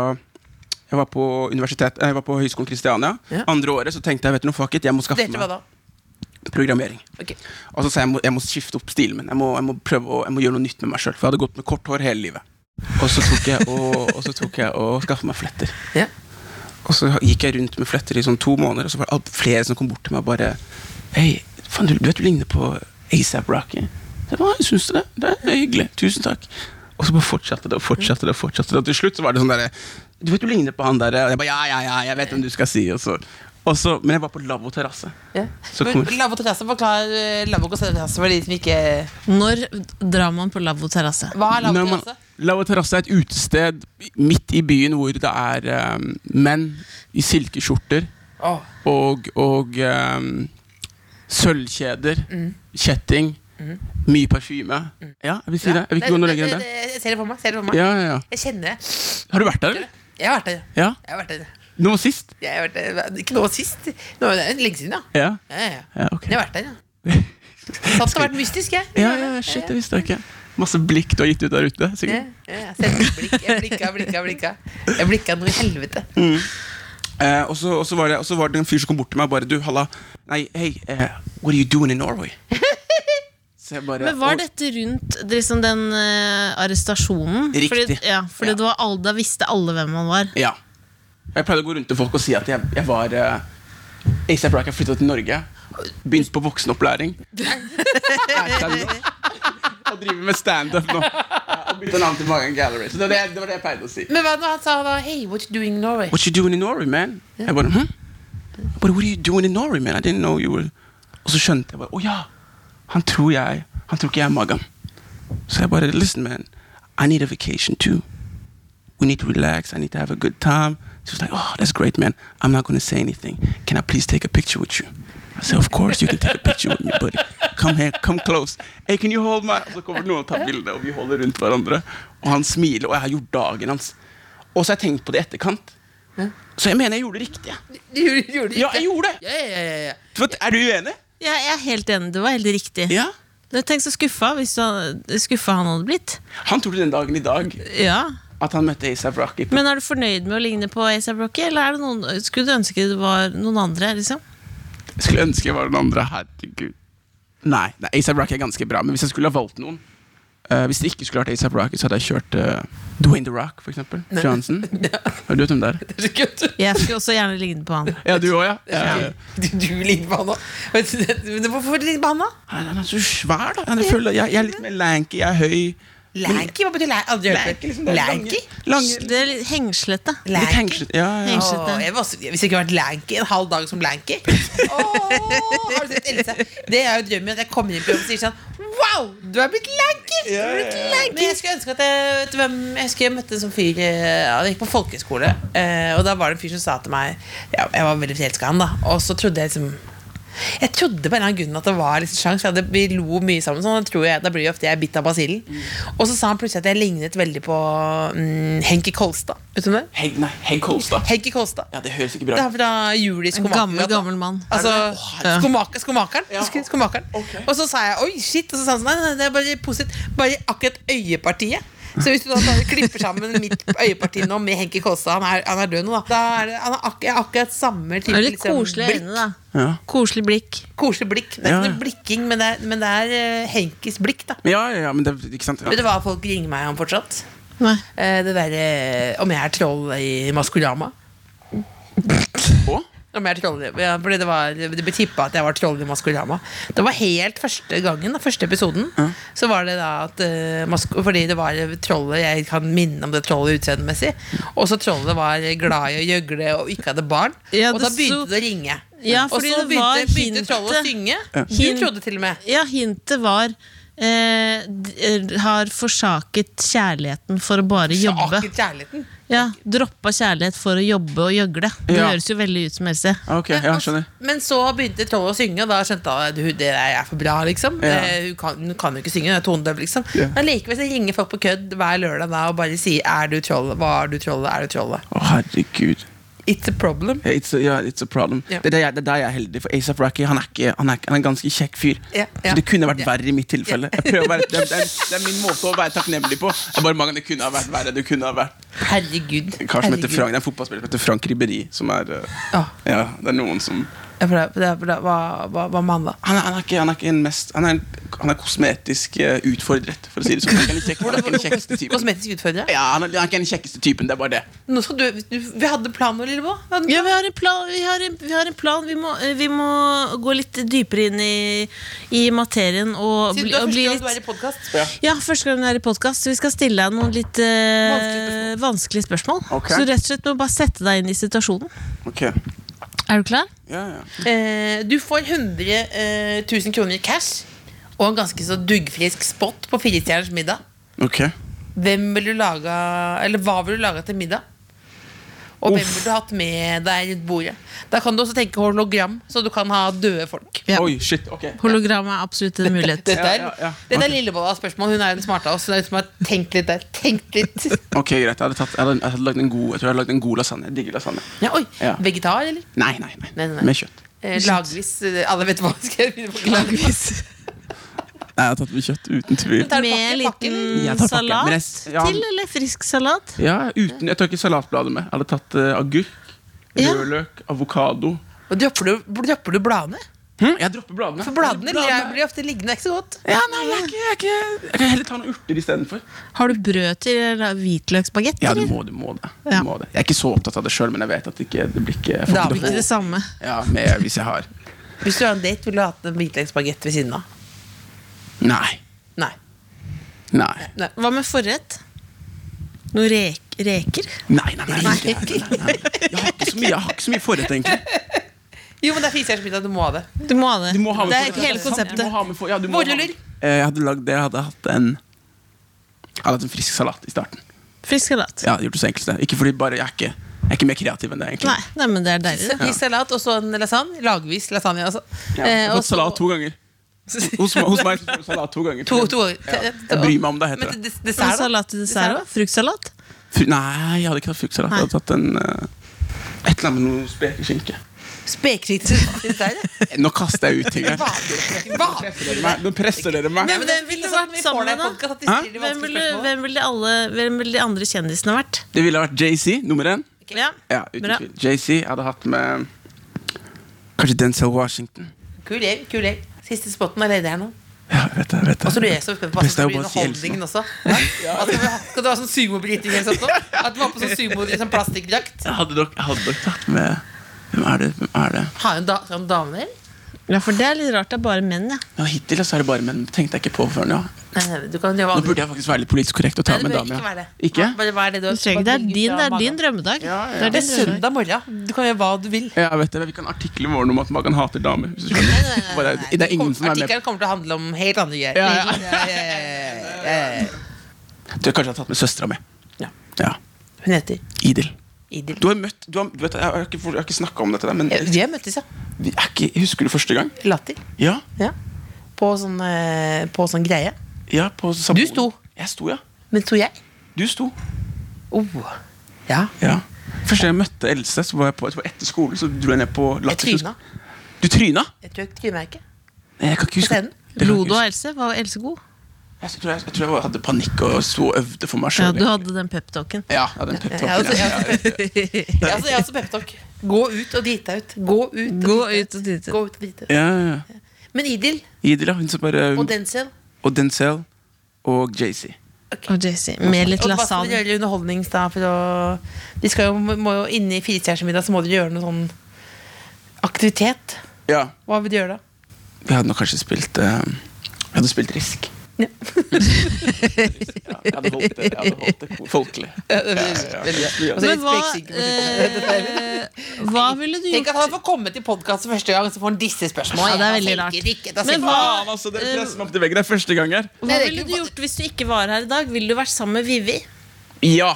E: jeg var på universitet, jeg var på Høgskolen Kristiania.
D: Ja.
E: Andre året så tenkte jeg vet du noe, fuck it, jeg må skaffe
D: Date hva
E: meg
D: da?
E: programmering.
D: Ok.
E: Og så sa jeg jeg må, jeg må skifte opp stilen min. Jeg må, jeg må prøve å, jeg må gjøre noe nytt med meg sjøl. For jeg hadde gått med kort hår hele livet. Og så tok jeg og, og, så tok jeg og skaffa meg fletter.
D: Ja.
E: Og så gikk jeg rundt med fletter i sånn to måneder, og så var det alt- flere som kom bort til meg og bare Hei, faen, du, du vet du ligner på ASAP Rocky. Jeg bare, Syns du det? Det er hyggelig. Tusen takk. Og så bare fortsatte det og fortsatte det. og fortsatte det Og til slutt så var det sånn derre Du vet du ligner på han derre Og jeg bare ja, ja, ja, jeg vet hvem du skal si. Og så, og så, men jeg var på lavvo terrasse. Så kommer-
D: Lavvo terrasse, forklar eh, lavvo terrasse for de som ikke
C: Når drar man på lavvo terrasse?
D: Hva er lavvo
E: Når man-
D: terrasse?
E: Lavvo terrasse er et utested midt i byen hvor det er um, menn i silkeskjorter
D: Åh.
E: og, og um, sølvkjeder, kjetting, mye parfyme. Mm. Ja, jeg vil si det. Jeg vil ikke gå noe lenger enn det.
D: Jeg ser det for meg. Ser det for meg.
E: Ja, ja, ja.
D: Jeg kjenner det.
E: Har du vært der, eller?
D: Jeg har vært der.
E: Ja.
D: Jeg har vært der.
E: Nå sist?
D: Jeg har vært der. Ikke nå sist. Nå er det lenge siden, da.
E: Ja.
D: Ja, ja, ja.
E: Ja, ok.
D: Jeg har vært der, ja. Satt og vært mystisk, jeg.
E: Ja, ja, shit, det visste jeg ikke. Masse blikk du har gitt ut der ute.
D: Ja,
E: sikkert.
D: ja, ja. Selv blikk. Jeg blikka, blikka, blikka. Jeg blikka noe i helvete.
E: Eh, og, så, og, så var det, og så var det en fyr som kom bort til meg og bare Du, halla. Nei, hei, eh, what are you doing in Norway? Så jeg bare
C: Men Var
E: «Å,
C: dette rundt liksom den eh, arrestasjonen?
E: Riktig.
C: Fordi, ja, fordi
E: Ja.
C: det var alle, da visste alle hvem han var.
E: Ja. Jeg pleide å gå rundt til folk og si at jeg, jeg var uh, ASAP Rocky har flytta til Norge. Begynt på voksenopplæring. Er seg nå. Og driver med standup nå. Ja, Og bytta navn til Magan Gallery. Så det var det, det var det jeg pleide å si.
D: Men hva når han sa da Hey, what you doing in Norway?
E: What you doing in Norway, man? Jeg bare, hm? Jeg bare, What are you doing in Norway, man? I didn't know you were Og så skjønte jeg bare Å ja! Han tror jeg Han tror ikke jeg er Magan. Så jeg bare Listen, man. I need a vacation too. We need to relax. I need to have a good time. She was like, Oh, that's great, man. I'm not going to say anything. Can I please take a picture with you? I said, Of course, you can take a picture with me, buddy. Come here, come close. Hey, can you hold my Og så kommer noen og tar bilde, og vi holder rundt hverandre. Og han smiler, og jeg har gjort dagen hans. Og så har jeg tenkt på det i etterkant. Så jeg mener jeg gjorde det riktige.
D: Du gjorde- gjorde det
E: Ja, jeg
D: ikke.
E: gjorde det!
D: Ja, ja, ja, ja.
E: Du vet, Er du uenig?
C: Ja, jeg er helt enig, det var helt riktig.
E: Ja.
C: Men Tenk så skuffa, hvis han, skuffa han hadde blitt.
E: Han trodde den dagen i dag
C: Ja.
E: at han møtte ASAP Rocky.
C: Men er du fornøyd med å ligne på A$AP Rocky, eller er det noen, skulle du ønske det var noen andre? liksom?
E: Jeg skulle ønske jeg var den andre. Herregud. Nei, nei ASAP Rocky er ganske bra, men hvis jeg skulle ha valgt noen eh, Hvis det ikke skulle vært ASAP Rocky, så hadde jeg kjørt eh, Dwayne The Rock, for eksempel. Johnson. Har du vet hvem det er?
D: Det er så kødd.
C: Jeg skulle også gjerne ligne på han.
E: Ja, du òg, ja. ja. ja.
D: Du, du ligner på han nå. Vet du det- men Hvorfor ligner du på han nå?
E: Han han er så svær, da. Han er full av- jeg, jeg er litt mer lanky, jeg er høy.
D: Lanky? Hva betyr lanky? Aldri hørt det.
E: liksom, det er
D: Lanky?
E: Lange,
C: Det er litt hengslete.
E: litt
D: Lanky?
E: hengslete. Ja, ja.
C: Hengslete.
D: Åh, jeg var også, hvis jeg ikke har vært lanky en halv dag som lanky Åh, har du sett Else? Det er jo drømmen at jeg kommer inn på jobb og sier sånn Wow, du er blitt lanky! Du er blitt lanky. Men jeg skulle ønske at jeg vet du hvem, Jeg husker jeg møtte en sånn fyr eh, Han gikk på folkehøyskole, eh, og da var det en fyr som sa til meg ja, Jeg var veldig forelska i han, da. Og så trodde jeg liksom jeg trodde på en eller annen grunn at det var liksom sjans. for jeg hadde- Vi lo mye sammen. Sånn, da tror jeg, da blir det ofte jeg er bitt av basillen. Og så sa han plutselig at jeg lignet veldig på mm, Henki Kolstad. Vet du hvem det? er?
E: Hegg, nei, Hegg Kolstad.
D: Henki Kolstad.
E: Ja, det høres ikke bra
D: Det
E: ut.
D: er fra Juli Skomaker.
C: Gammel, gammel mann.
D: Altså,
E: Er det det?
D: Åh, skomaker, skomakeren. Husker du skomakeren? Og så sa jeg oi, shit. Og så sa han sånn nei, nei, det er bare positivt. Bare akkurat øyepartiet. Så hvis du da tar- klipper sammen mitt øyeparti nå med Henki Kolstad, han, er- han er død nå, da. da er det, han er akkurat, akkurat
C: Det
D: samme type
C: er
D: liksom,
C: litt
E: liksom
C: koselige
D: blikk.
C: øyne, da.
E: Ja.
C: Koselig blikk.
D: Koselig blikk. Det er
E: Ja,
D: ikke
E: ja.
D: noe blikking, men det er, men det er eh, Henkis blikk, da.
E: Ja, ja, ja, men det, ikke sant?
D: Vet
E: Ja.
D: du hva folk ringer meg om fortsatt?
C: Nei.
D: Eh, det derre om jeg er troll i Maskorama.
E: Og?
D: Om jeg er troll, i- ja, fordi det, var, det ble tippa at jeg var troll i Maskorama. Det var helt første gangen, da, første episoden. Så var det da at eh, Mask- Fordi det var trollet Jeg kan minne om det trollet utseendemessig. Og så trollet var glad i å gjøgle og ikke hadde barn.
C: Ja,
D: og
C: det
D: da begynte
C: så-
D: det å ringe.
C: Ja,
D: og
C: fordi
D: så
C: det var
D: begynte, begynte
C: hintet-
D: trollet å synge.
C: Hint-
D: Du trodde til og med.
C: Ja, hintet var eh, d- har forsaket kjærligheten for å bare jobbe.
D: Akkurat kjærligheten.
C: Ja, Droppa kjærlighet for å jobbe og gjøgle. Det
E: Ja.
C: høres jo veldig ut som Else.
E: Ah, Ok, ja,
D: og-
E: skjønner.
D: Men så begynte Troll å synge, og da skjønte han at hun- det er for bra. liksom
E: Ja.
D: Eh, hun, kan, hun kan jo ikke synge, hun er tonedøv. liksom
E: Ja.
D: Men likevel så ringer folk på kødd hver lørdag da og bare sier 'Er du trollet? Hva er du trollet? Er du trollet?'
E: Å, herregud.
D: It's a problem.
E: Ja, It's a, ja, it's a problem.
D: Ja.
E: Det, er der jeg, det er der jeg er heldig, for ASAP Rocky han er, ikke, han, er, ikke- han er en ganske kjekk fyr.
D: Ja, ja.
E: Så det kunne vært
D: Ja.
E: verre i mitt tilfelle. Jeg prøver å være, det, er, det, er, det er min måte å være takknemlig på. Jeg bare, Magan, det kunne ha vært verre. Det kunne ha vært
D: Herregud.
E: En kar som heter
D: Herregud.
E: Frank, det er en fotballspiller som heter Frank Ribberi, som er eh,
D: Ah.
E: Ja, det er noen som
D: Ja, for det, for det, for det, hva, hva, hva med han, da?
E: Han er, han er ikke, han er ikke en mest Han er, han er kosmetisk eh, utfordret, for å si det sånn. Han er ikke den kjekkeste- han er ikke den kjekkeste typen.
D: Kosmetisk utfordrer?
E: Ja, han er, han er ikke den kjekkeste typen, det er bare det.
D: Nå skal du, du, vi hadde planer, Lillebo.
C: Ja, vi har en plan. Vi, har en, vi, har en plan. vi, må, eh, vi må gå litt dypere inn i, i materien og, bli, og bli litt
D: podkast.
C: ja, første gang du er i podkast, så vi skal stille deg noen litt eh,
D: Vanskelige
C: vanskelige spørsmål.
E: Ok.
C: Så du rett og slett må bare sette deg inn i situasjonen.
E: Ok,
C: Er du klar?
E: ja, ja
D: Eh, du får 100 eh, 000 kroner i cash og en ganske så duggfrisk spot på Firestjerners middag.
E: Ok
D: Hvem vil du lage, eller Hva vil du lage til middag? Og hvem
E: Uff.
D: vil du hatt med deg rundt bordet? Da kan du også tenke hologram, så du kan ha døde folk.
C: Ja.
E: Oi, shit, ok
C: Hologram er absolutt en mulighet.
D: Dette er,
E: Ja, ja, ja.
D: dette er Lillebollas spørsmål. Hun er jo den smarte av oss. Hun er den som har tenkt litt der. Tenkt litt.
E: Ok, greit, jeg hadde, tatt, jeg hadde, jeg hadde lagd en god Jeg tror jeg hadde lagd en god lasagne Jeg digger lasagne
D: Ja, oi,
E: Ja.
D: Vegetar, eller?
E: Nei, nei, nei,
D: Nei, nei, nei.
E: Med kjøtt
D: Eh, lagvis. eh, Alle vet hva jeg skal begynne på. Lagvis.
E: Jeg hadde tatt med kjøtt, uten tvil
D: Tar du
C: Med en
D: pakken, pakken?
E: Jeg
C: liten
E: tar pakken, men
C: salat
E: jeg s- ja.
C: til, eller frisk salat.
E: Ja, uten, jeg tar ikke salatbladet med Jeg hadde tatt eh, agurk
C: Ja.
E: Rødløk, avokado
D: Og dropper du, dropper du bladene?
E: hm? Jeg dropper bladene
D: For bladene blir- blir ofte liggende ikke så godt.
E: Ja, nei, jeg, er ikke, jeg, er ikke, jeg kan heller ta noen urter i stedet for
C: Har du brød til eller hvitløksbagett?
E: Ja, du
C: eller?
E: må, du må det Du
C: Ja.
E: må det Jeg er ikke så opptatt av det selv, men jeg vet at det ikke Det blir ikke jeg får
D: Da
E: ikke
D: blir
E: det
C: Ikke det samme.
E: hold- Ja, med, hvis jeg har
D: Hvis du har en date, ville du hatt en hvitløksbagett ved siden av?
E: Nei,
D: Nei.
E: nei
C: Hva med forrett? Noen rek reker?
E: Nei, nei, nei, nei, nei, nei, nei. Jeg har ikke så mye, jeg har ikke så mye forrett, egentlig.
D: Jo, men det er firestjernersmiddag, du må ha det.
C: Du må ha det.
E: Du må ha med
C: det er
E: forrett.
C: hele konseptet.
E: Du må ha med for- ja, du må ha-
D: Boruller.
E: Eh, Jeg hadde lagd det, jeg hadde hatt en Jeg hadde hatt en frisk salat i starten.
C: Frisk salat.
E: Jeg hadde gjort det så enkelt det. Ikke fordi bare, jeg er ikke, jeg er ikke mer kreativ enn det, egentlig.
C: Nei, nei, men det er deilig. det.
D: Frisk salat og så en lasagne. Lagvis lasagne, altså.
E: Ja, jeg
D: Eh,
E: har
D: og
E: fått
D: så-
E: salat to ganger. Hos, hos meg så får du salat to ganger.
D: To, to,
E: Ja, Jeg bryr meg om det, heter
D: Men
E: det.
D: des-
C: Og
D: Dessert, da?
C: salat til dessert òg? Fruktsalat?
E: Fru- Nei, jeg hadde ikke tatt fruktsalat. Jeg hadde tatt en eh, et eller annet med noe spekeskinke.
D: Spekerikt til dessert? ja.
E: Nå kaster jeg ut ting her.
D: Vanlig. Vanlig.
E: Dere meg- Nå presser dere meg.
D: Ja, men det ville vært sammen med
E: Hæ?
D: deg.
C: Hvem ville, hvem ville alle, hvem ville de andre kjendisene vært?
E: Det ville vært JC, nummer én.
C: Ja.
E: Ja, uten
C: Bra.
E: tvil. JC hadde hatt med Kanskje Denzel Washington.
D: Kul gjeng, kul gjeng. Siste spotten er ledig her nå.
E: Ja, jeg vet det, jeg vet det.
D: Og så lurer jeg så spent på hva som
E: Beste er jo
D: blir
E: bare å si
D: underholdningen også. Hæ? At Skal, vi ha- skal du ha sånn sumobryting eller sånt nå? At du har på sånn sumo sånn plastikkdrakt?
E: Jeg hadde nok, jeg hadde nok tatt med Hvem er det? Hvem er det?
D: Har hun da, skal
E: sånn
D: hun dame der?
C: ja, for det er litt rart. Det er bare menn, ja.
E: Ja, hittil så er det bare menn. Tenkte jeg ikke på før nå.
D: Nei, nei, du kan gjøre
E: Nå
D: hva
E: burde jeg faktisk være litt politisk korrekt og ta
D: du
E: med
D: bør
E: dame.
D: ikke være
E: ja.
D: det.
E: Ikke?
D: Bare vær det du
C: Du trenger, det, er
D: bare
C: din, det er
D: magen.
C: din drømmedag.
E: Ja,
C: Det er
E: ja.
D: Det
C: din
D: er
C: drømmedag.
D: søndag morgen. Du kan gjøre hva du vil.
E: Ja, jeg vet det. Vi kan artikle i morgen om at Magan hater damer. Hvis du skjønner. Bare- det er ingen som er med.
D: Artikkelen kommer til å handle om helt andre greier.
E: Ja, ja.
D: Ja, ja, ja, ja, ja, ja.
E: Jeg tror kanskje jeg har tatt med søstera mi.
D: Ja.
E: Ja.
D: Hun heter
E: Idil.
D: Idil.
E: Du har møtt du har, du vet, Jeg har ikke, jeg har ikke snakka om dette, der, men
D: Ja, Vi har møttes, ja.
E: vi er ikke, husker du første gang?
D: Latter.
E: Ja.
D: Ja. På sånn, eh, på sånn greie.
E: ja på
D: Du
E: Samboer.
D: sto.
E: Jeg sto, ja.
D: Men så jeg.
E: Du sto.
D: Oh. Ja.
E: Ja. Første gang jeg møtte Else, så var jeg på, jeg tror etter skolen. Så dro jeg ned på Latter.
D: Jeg tryna.
E: Du tryna?
D: Jeg tror jeg tryna ikke.
E: Nei, Jeg kan ikke huske
D: scenen?
E: Jeg kan
C: Lo du
E: ikke
C: av
E: huske.
C: Else? Var Else god?
E: Jeg tror jeg, jeg tror jeg hadde panikk og sto og øvde for meg
C: Ja,
E: sjøl.
C: du hadde den peptalken.
E: ja, ja, den
D: Jeg har også, jeg
E: pep-talken.
D: har også,
E: Ja,
D: jeg har også, altså, jeg har også peptalk. Gå ut og drit deg ut. Gå ut og
C: Gå
D: drit
C: ut og
D: deg
C: drite.
D: Gå ut og drit deg ut.
E: ja, ja, ja.
D: Men Idil
E: Idil, ja. Hun som bare
D: og
E: hun,
D: Denzel
E: Og Denzel og JC.
C: Og JC. Med litt
D: og hva skal dere
C: lasagne.
D: gjøre i underholdnings da? For å, de skal jo, må jo inn i firestjernersmiddag, så må dere gjøre noe sånn aktivitet.
E: Ja.
D: Hva vil du gjøre da?
E: Vi hadde nok kanskje spilt eh, Vi hadde spilt Risk.
D: Ja.
E: Ja, jeg hadde holdt det, jeg hadde holdt det ko- folkelig.
D: Og så
C: Men hva,
D: litt spekesikker
C: eh, hva ville du
D: Tenk
C: gjort
D: at han får komme til podkast første gang, så får han disse
C: Ja,
D: spørsmålene.
C: det er veldig
D: Da
C: rart.
D: tenker jeg ikke, da
C: Men
D: sier jeg
C: hva-
E: Faen, altså, Dere presser meg opp til veggen. Det er første gang her.
C: Hva
D: Nei, det er
C: ville
D: ikke-
C: du gjort hvis du ikke var her i dag? Ville du vært sammen med Vivi
E: Ja.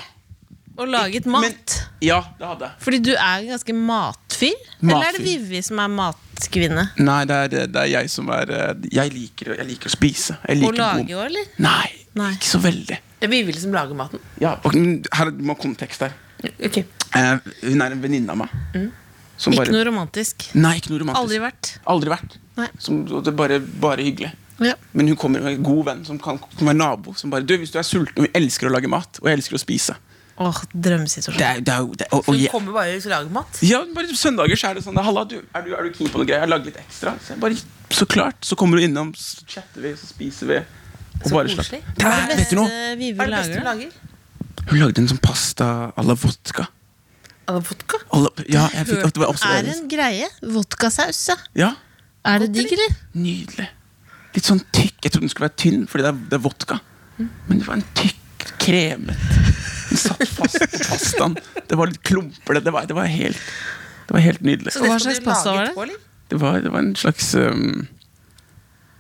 C: og laget mat?
E: Ja, det hadde jeg.
C: Fordi du er en ganske matfyr? Eller er det
E: Matfyr.
C: Vivi som er matkvinne?
E: Nei, det er, det er jeg som er eh, Jeg liker, jeg liker å spise. Jeg
C: Og
E: liker god-
C: lage òg, eller?
E: Nei,
C: Nei.
E: ikke så veldig.
D: Det er Vivi som lager maten.
E: Ja, og, men her er- må ha kontekst her.
D: Ok.
E: Eh, hun er en venninne av meg. Som
C: Ikke noe romantisk.
E: Nei, ikke noe romantisk.
C: Aldri vært.
E: Aldri vært.
C: Nei.
E: Som, og det er bare, bare hyggelig.
C: Ja.
E: Men hun kommer med en god venn som kan som er nabo. Som bare, du, hvis du er sulten, og Hun elsker å lage mat, og jeg elsker å spise.
C: Åh, drømmesituasjon.
E: Det er, det er, jo- det er, og,
C: Oh,
D: Hun
E: og, jeg-
D: kommer bare og lager mat.
E: Ja, bare søndager så er det sånn Halla, du, er du, er du keen på noe greier? Jeg har lagd litt ekstra. Så jeg bare, så klart. Så kommer du innom, så chatter vi, så spiser vi. Og
D: Så
E: bare
D: koselig.
E: slapper. Det er, vet du noe?
C: Eh,
D: Hva
C: Vive
D: er det beste
C: lager
D: hun
C: det.
D: lager?
E: Hun lagde en sånn pasta à la vodka.
D: Er det Vodka?
E: À la- ja, jeg fikk at det var
C: er
E: observerende.
C: en greie. Vodkasaus, ja.
E: Ja,
C: Er det digg, eller?
E: nydelig. Litt sånn tykk. Jeg trodde den skulle være tynn, fordi det er, det er vodka. Men det var en tykk, kremet Den satt fast på pastaen. Det var litt klumper. Det, det, var, det, var, helt, det var helt nydelig.
D: Så
C: Hva
D: skal
C: slags
D: du
C: pasta
D: lage
C: var det?
D: etterpå, eller?
E: Det var, det var en slags um,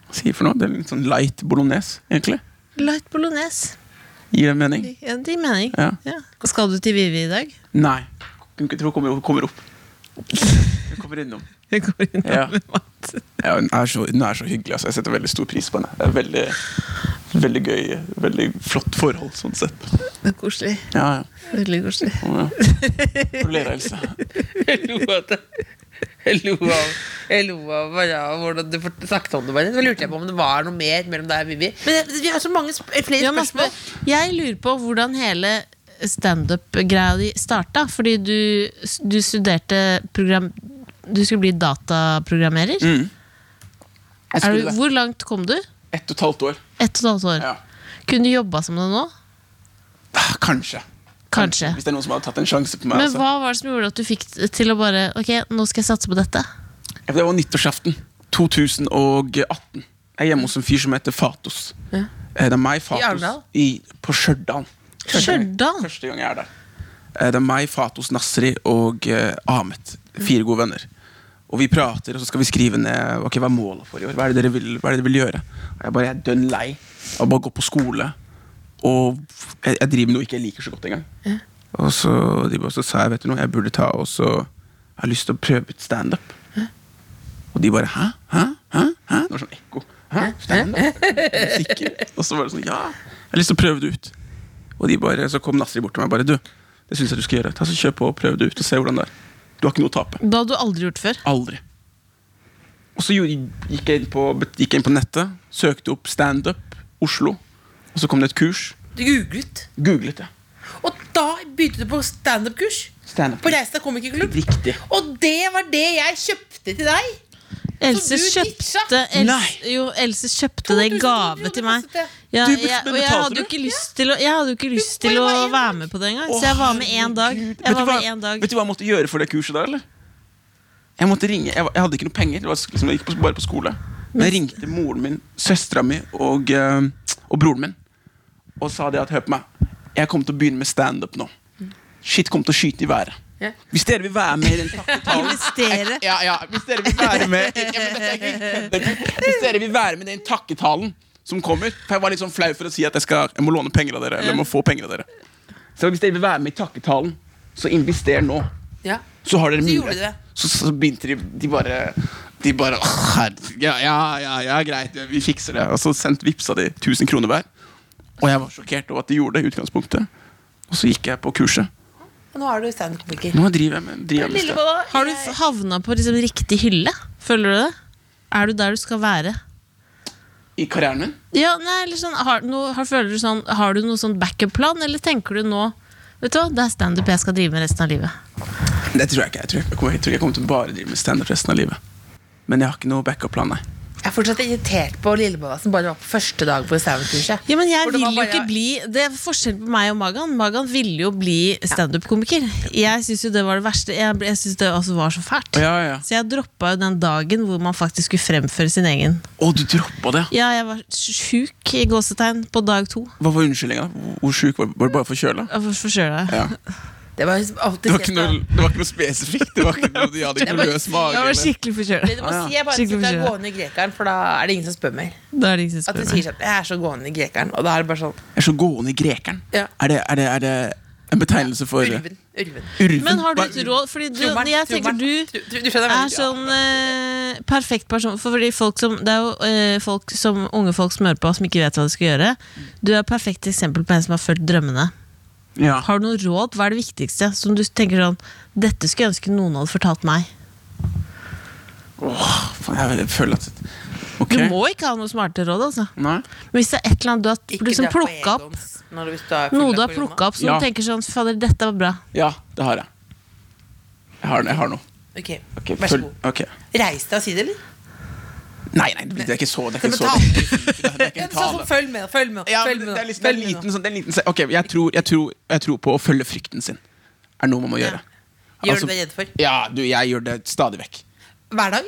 E: Hva sier jeg for noe? Det er Litt sånn light bolognese, egentlig.
C: Light bolognese.
E: Gir det mening?
C: Ja, det gir mening.
E: Ja.
C: Ja. Skal du til Vive i dag?
E: Nei. Kunne ikke tro kommer, kommer opp. Hun kommer innom.
C: Jeg går inn
E: Ja.
C: med mat.
E: Ja, hun, er så, hun er så hyggelig. Altså. Jeg setter veldig stor pris på henne. Det er veldig, veldig gøy, veldig flott forhold sånn sett.
C: Det er koselig.
E: Ja, ja.
C: Veldig koselig.
E: Å, ja. Får du le deg, Else.
D: Jeg lo av det. Jeg lo av, jeg lo av bare av hvordan du fort- snakket om det. bare Så lurte jeg på om det var noe mer mellom deg og Vivi. Men det- vi har så mange sp flere
C: Ja, men
D: spørsmål.
C: Asbjørn, jeg lurer på hvordan hele standup-greia di starta. Fordi du, du studerte program... Du skulle bli dataprogrammerer.
E: Mm. Jeg
C: er du,
E: skulle det.
C: hvor langt kom du?
E: Ett og et halvt år.
C: Ett og et halvt år.
E: Ja.
C: Kunne du jobba som det nå?
E: Ah, Kanskje.
C: Kanskje.
E: Hvis det er noen som hadde tatt en sjanse på meg.
C: Men
E: Altså.
C: hva var det som gjorde at du fikk til å bare Ok, nå skal jeg satse på dette?
E: Ja, Det var nyttårsaften 2018. Jeg er hjemme hos en fyr som heter Fatos. Eh, Det er meg, Fatos,
D: Arendal?
E: i- på Stjørdal.
C: Stjørdal?
E: Første gang jeg er der. Eh, Det er meg, Fatos, Nasri og eh, Ahmet. Fire gode venner. Og vi prater, og så skal vi skrive ned Ok, hva er målet for i år. Hva er det dere vil, hva er det dere vil gjøre? Og jeg bare jeg er dønn lei av bare å gå på skole. Og jeg, jeg driver med noe jeg ikke liker så godt engang. Og så, de bare, så sa jeg vet du noe, jeg burde ta og så Jeg har lyst til å prøve ut standup. Og de bare hæ? Hæ? Hæ? Hæ? Det var sånn ekko. Hæ? Standup? Er du sikker? Og så var det sånn ja, jeg har lyst til å prøve det ut. Og de bare, så kom Nasri bort til meg og bare du, det syns jeg du skal gjøre. Ta så Kjør på og prøv det ut og se hvordan det er. Du har ikke noe å tape.
C: Det hadde du aldri gjort før.
E: Aldri. Og så gjorde- gikk jeg inn på, gikk jeg inn på nettet, søkte opp standup Oslo, og så kom det et kurs.
D: Du googlet.
E: Googlet det.
D: Og da begynte du på standup-kurs.
E: Standup.
D: På Reist av komikerklubb.
E: Riktig.
D: Og det var det jeg kjøpte til deg.
C: Else
D: du ditcha?
C: kjøpte, Else,
E: Nei.
C: jo, Else kjøpte det i
D: 2000
C: gave
D: kroner
C: til meg.
D: kostet det.
C: Ja,
E: Du bet-
C: jeg,
E: men
C: og jeg
E: betalte
C: hadde jo
E: du?
C: ikke lyst til å, jeg hadde jo ikke lyst
D: bare
C: til å
D: var en
C: være med på det engang, så jeg var med én dag. Jeg
E: Herregud.
C: var
E: vet, du
C: med
E: hva,
C: en dag.
E: vet du hva jeg måtte gjøre for det kurset der, eller? Jeg måtte ringe, jeg, var- jeg hadde ikke noe penger, det var liksom, jeg gikk på, bare på skole. Men jeg ringte moren min, søstera mi og, eh, og broren min og sa det at hør på meg, jeg kommer til å begynne med standup nå. Shit kommer til å skyte i været.
D: Ja.
E: Hvis dere vil være med i den takketalen
C: Investere.
E: ja, ja, hvis dere vil være med ja, men dette er ikke- dere- Hvis dere vil være med i den takketalen som kommer For jeg var litt sånn flau for å si at jeg, skal, jeg må låne penger av dere. Eller jeg må få penger av dere Så hvis dere vil være med i takketalen, så invester nå.
D: Ja.
E: Så har dere
D: Så gjorde de
E: mulighet.
D: det.
E: Så, så begynte de De bare De bare «Åh, herregud, ja, ja, ja, ja, greit, vi fikser det. Og så sendt vipsa de 1000 kroner hver. Og jeg var sjokkert over at de gjorde det i utgangspunktet. Og så gikk jeg på kurset.
D: Og nå er du standup-komiker.
E: Nå driver jeg med, driver jeg med stand-
D: Lillebolla,
C: Har du f- havna på liksom riktig hylle? Føler du det? Er du der du skal være?
E: I karrieren min.
C: Ja, nei, eller sånn, har, no, har, føler du sånn, har du noe sånn backup-plan, eller tenker du nå Vet du hva, det er standup jeg skal drive med resten av livet.
E: Det tror jeg ikke. Jeg tror jeg kommer, jeg tror jeg kommer til å bare drive med standup resten av livet. Men jeg har ikke noe backup-plan, nei.
D: jeg er fortsatt irritert på Lillebolla som bare var på første dag på standup-kurset.
C: Ja, men jeg
D: For det
C: vil
D: var
C: jo
D: bare-
C: ikke bli Det er forskjell på meg og Magan. Magan ville jo bli standup-komiker. Jeg syns jo det var det verste. Jeg, ble- jeg synes det også var så fælt.
E: Ja, ja.
C: Så jeg droppa jo den dagen hvor man faktisk skulle fremføre sin egen.
E: Å, du droppa det?
C: Ja, jeg var sjuk i gåsetegn på dag to.
E: Hva var unnskyldninga? Hvor- Hvor sjuk var du? Var du bare forkjøla?
C: Jeg får forkjøla.
E: Ja.
D: Det var liksom alltid
E: Det, var ikke noe- det var ikke noe spesifikt. Det var ikke noe, de hadde ikke noe løs mage.
C: Jeg var
E: eller-
C: skikkelig forkjøla.
D: Men du må
E: Ah,
D: si jeg bare
C: Skikkelig
D: skal
C: forkjøla.
D: gå ned i grekeren, for da er det ingen som spør mer.
C: Da er det ingen som
D: At du
C: spør
D: sier
C: meg.
D: sånn, jeg er så gående i grekeren, og da er det bare sånn
E: Jeg er så gående i grekeren.
D: Ja.
E: Er, det, er, det, er det en betegnelse for
D: Ulven. ulven.
E: Urven.
C: Men har du
E: Hva-
C: et råd? Fordi du,
D: Trommeren,
C: jeg tenker
D: trommeren.
C: du
D: Tro- tro- du skjønner hva
C: er
D: jeg mener.
C: sånn eh, perfekt person for fordi folk som, Det er jo eh, folk som, unge folk som hører på, som ikke vet hva de skal gjøre. Du er et perfekt eksempel på en som har fulgt drømmene.
E: Ja.
C: Har du noe råd? Hva er det viktigste? Som du tenker sånn Dette skulle jeg ønske noen hadde fortalt meg.
E: Åh, faen, jeg føler at Ok.
C: Du må ikke ha noe smarte råd, altså.
E: Nei?
C: Men hvis det er et eller annet du har
D: Ikke
C: liksom
D: dra på
C: plukka opp,
D: Egons når du- hvis du er full
C: noe
D: av
C: du har
D: korona.
C: plukka opp som
E: Ja.
C: du tenker sånn Fader, dette var bra.
E: Ja, det har jeg. Jeg har, jeg har noe.
D: Ok,
E: Ok,
D: Vær så
E: følg-
D: god.
E: ok.
D: Reis deg og si det, eller?
E: Nei, nei, det er ikke så Det er
D: Det
E: ikke
D: er
E: så,
D: betalt.
E: det er ikke
D: Ja,
E: en
D: men sånn som
E: tale.
D: Følg med, følg med.
E: Ja,
D: følg
E: men
D: med nå,
E: det er liksom det er en
D: følg med nå.
E: liten sånn det er en liten se- Ok, jeg tror, jeg, tror, jeg tror på å følge frykten sin. Er noe man må gjøre.
D: Gjør du
E: Altså-
D: deg redd for?
E: Ja, du, jeg gjør det stadig vekk.
D: Hver dag?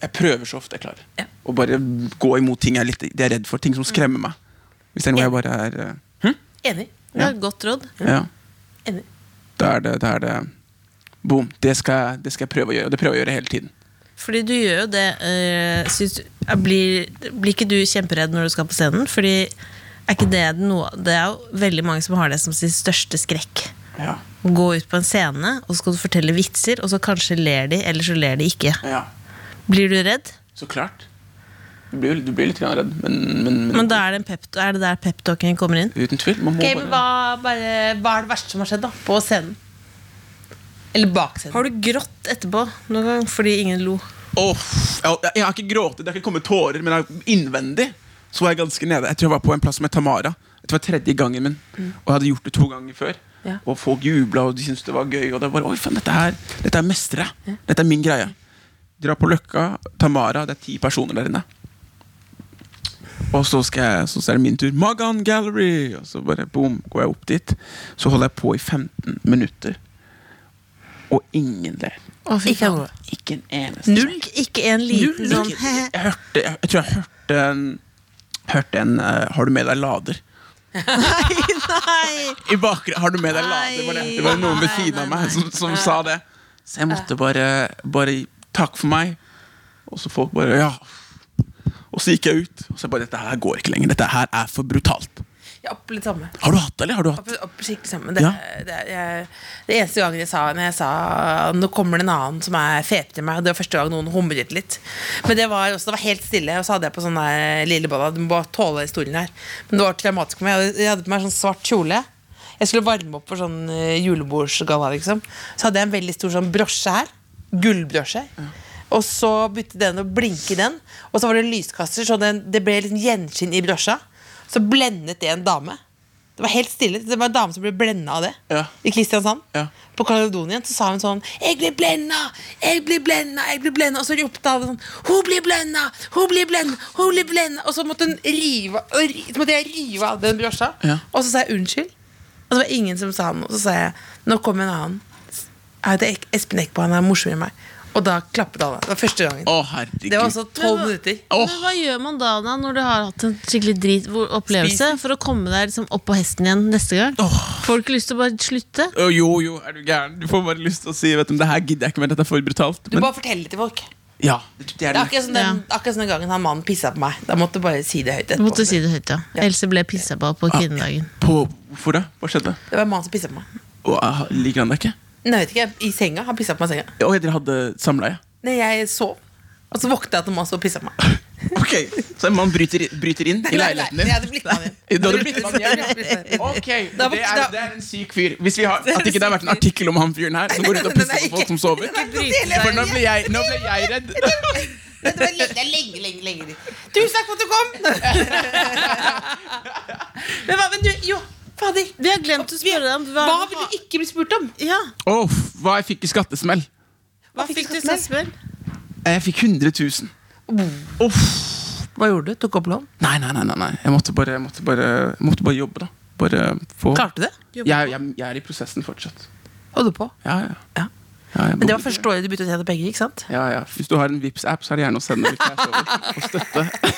E: Jeg prøver så ofte jeg klarer.
D: Ja.
E: Å bare gå imot ting jeg er, litt, det jeg er redd for. Ting som skremmer meg. Hvis det er noe jeg bare er eh, hm?
D: Enig.
C: Det er et godt råd.
E: Ja.
D: Enig.
E: Da er det, da er det Boom. Det skal, jeg- det skal jeg prøve å gjøre. Og det prøver jeg å gjøre hele tiden.
C: Fordi du gjør jo det eh, syns, du- blir, blir ikke du kjemperedd når du skal på scenen? Fordi er ikke det noe Det er jo veldig mange som har det som sin største skrekk.
E: Ja.
C: Å Gå ut på en scene, og så skal du fortelle vitser, og så kanskje ler de, eller så ler de ikke.
E: ja.
C: Blir du redd?
E: Så klart. Du blir, jo- du blir litt grann redd, men, men, men,
C: Men da er det, en pep, er det der peptalken kommer inn?
E: uten tvil. Man må
D: Ok, men
E: bare
D: hva, bare, hva er det verste som har skjedd da, på scenen? Eller bak scenen?
C: Har du grått etterpå noen gang fordi ingen lo?
E: Åh, ja, jeg, jeg har ikke grått, det har ikke kommet tårer, men jeg- innvendig så var jeg ganske nede. Jeg tror jeg var på en plass med Tamara. Det var tredje gangen min, og jeg hadde gjort det to ganger før.
D: Ja.
E: Og folk jubla, og de syntes det var gøy. Og det var, Oi, faen, dette, her, dette er mestere. Dette er min greie. Dra på Løkka, Tamara, det er ti personer der inne. Og så, skal jeg, så er det min tur. Magan Gallery! Og så bare boom, går jeg opp dit. Så holder jeg på i 15 minutter, og ingen ler.
D: Ikke noe.
E: Ikke en eneste.
C: Null? Ikke en liten
D: Liksom.
E: Null.
C: sånn he-he.
E: Jeg, hørte, jeg, jeg tror jeg hørte en, hørte en eh, Har du med deg lader?
C: Nei!
E: I bakgrunnen, Har du med deg lader? Det var, det. Det var noen ved siden av meg som, som sa det. Så jeg måtte bare, bare Takk for meg. Og så folk bare Ja. Og så gikk jeg ut. Og så bare Dette her går ikke lenger. Dette her er for brutalt.
D: Ja, opp litt samme.
E: Har du hatt det, eller? Har du hatt
D: Opp, opp skikkelig sammen. Det,
E: Ja.
D: det, jeg, det eneste gangen jeg sa Når jeg sa Nå kommer det en annen som er fetere enn meg, og det var første gang noen humret litt. Men det var også, det var helt stille, og så hadde jeg på sånn der lillebolla. Du må bare tåle historien her. Men det var traumatisk for meg. og Jeg hadde på meg sånn svart kjole. Jeg skulle varme opp for sånn eh, julebordsgalla, liksom. Så hadde jeg en veldig stor sånn brosje her. Gullbrosje. Og så begynte den å blinke i den, og så var det en lyskaster, så den, det ble liksom gjenskinn i brosja. Så blendet det en dame. Det var helt stille. Det var en dame som ble blenda av det.
E: Ja.
D: I Kristiansand.
E: Ja.
D: På Kaledonien så sa hun sånn 'Jeg blir blenda! Jeg blir blenda! Jeg blir blenda!' Og så ropte alle sånn 'Hun blir blenda! Hun blir blenda! Hun blir blenda!' Og så måtte hun rive og ri, Så måtte jeg rive av den brosja.
E: Ja.
D: Og så sa jeg unnskyld. Og så var det ingen som sa noe. Og så sa jeg 'Nå kommer en annen'. Jeg heter Ek- Espen Eckbo, han er morsommere enn meg. Og da klappet alle. Det var første gangen.
E: Å, herregud.
D: Det var altså
C: Men
D: tolv
C: hva-
D: minutter.
E: Åh.
C: Men hva gjør man da, da når du har hatt en skikkelig drit hvor- opplevelse, for å komme deg liksom opp på hesten igjen neste gang? Får du ikke lyst til å bare slutte?
E: Å, jo, jo, er du gæren? Du får bare lyst til å si Vet du, det her gidder jeg ikke mer. Dette er for brutalt.
D: Du bare forteller det til folk.
E: ja, det, det er
D: Det er
E: det.
D: akkurat som den, akkurat som den gangen han mannen pissa på meg. Da måtte du bare si det høyt.
C: Du
D: etterpå.
C: måtte si det høyt, ja. Else ble pissa på på kvinnedagen.
E: På, hvorfor det? Hva skjedde?
D: Det var en mann som pissa på meg.
E: Å, ah, liker han deg ikke?
D: Nei, jeg vet ikke, I senga. Han pissa på meg i senga.
E: Å, dere hadde samleie?
D: Nei, jeg sov. Og så våkna jeg at en mann sto og pissa på meg.
E: Ok, Så en mann bryter, bryter inn i
D: Nei, nei,
E: leiligheten
D: nei,
E: din?
D: Jeg hadde blitt med han hjem.
E: Du hadde blitt-
D: Jeg hadde blitt med han hjem.
E: Ok,
D: Da
E: det
D: våkna-
E: er, det er en syk fyr. Hvis vi har, At ikke det har vært en artikkel om han fyren her som går rundt og
D: Den er
E: pisser på
D: ikke-
E: folk som sover.
D: den er ikke
E: For nå ble jeg, nå ble jeg redd.
D: Det var lenge, det er lenge, lenge, lenge dit. Tusen takk for at du kom! Men hva, men du, jo, fader.
C: Vi har glemt å spørre deg om hva,
D: Hva vil du ikke bli spurt om?
C: Ja,
E: Åh, hva jeg fikk i skattesmell? Eh,
C: hva fikk du i skattesmell?
E: Jeg fikk 100 000. Uff.
D: Hva gjorde du? Tok opp lån?
E: Nei, nei, nei. nei, nei. Jeg måtte bare, jeg måtte bare, jeg måtte bare jobbe, da. Bare få jeg,
D: Klarte du det?
E: jeg, jeg er i prosessen fortsatt.
D: Holdt du på?
E: Ja, ja.
D: Ja.
E: ja jeg
D: Men det
E: må-
D: var første året du begynte å tjene penger, ikke sant?
E: ja, ja. Hvis du har en vips app så er det gjerne å sende litt cash over og støtte.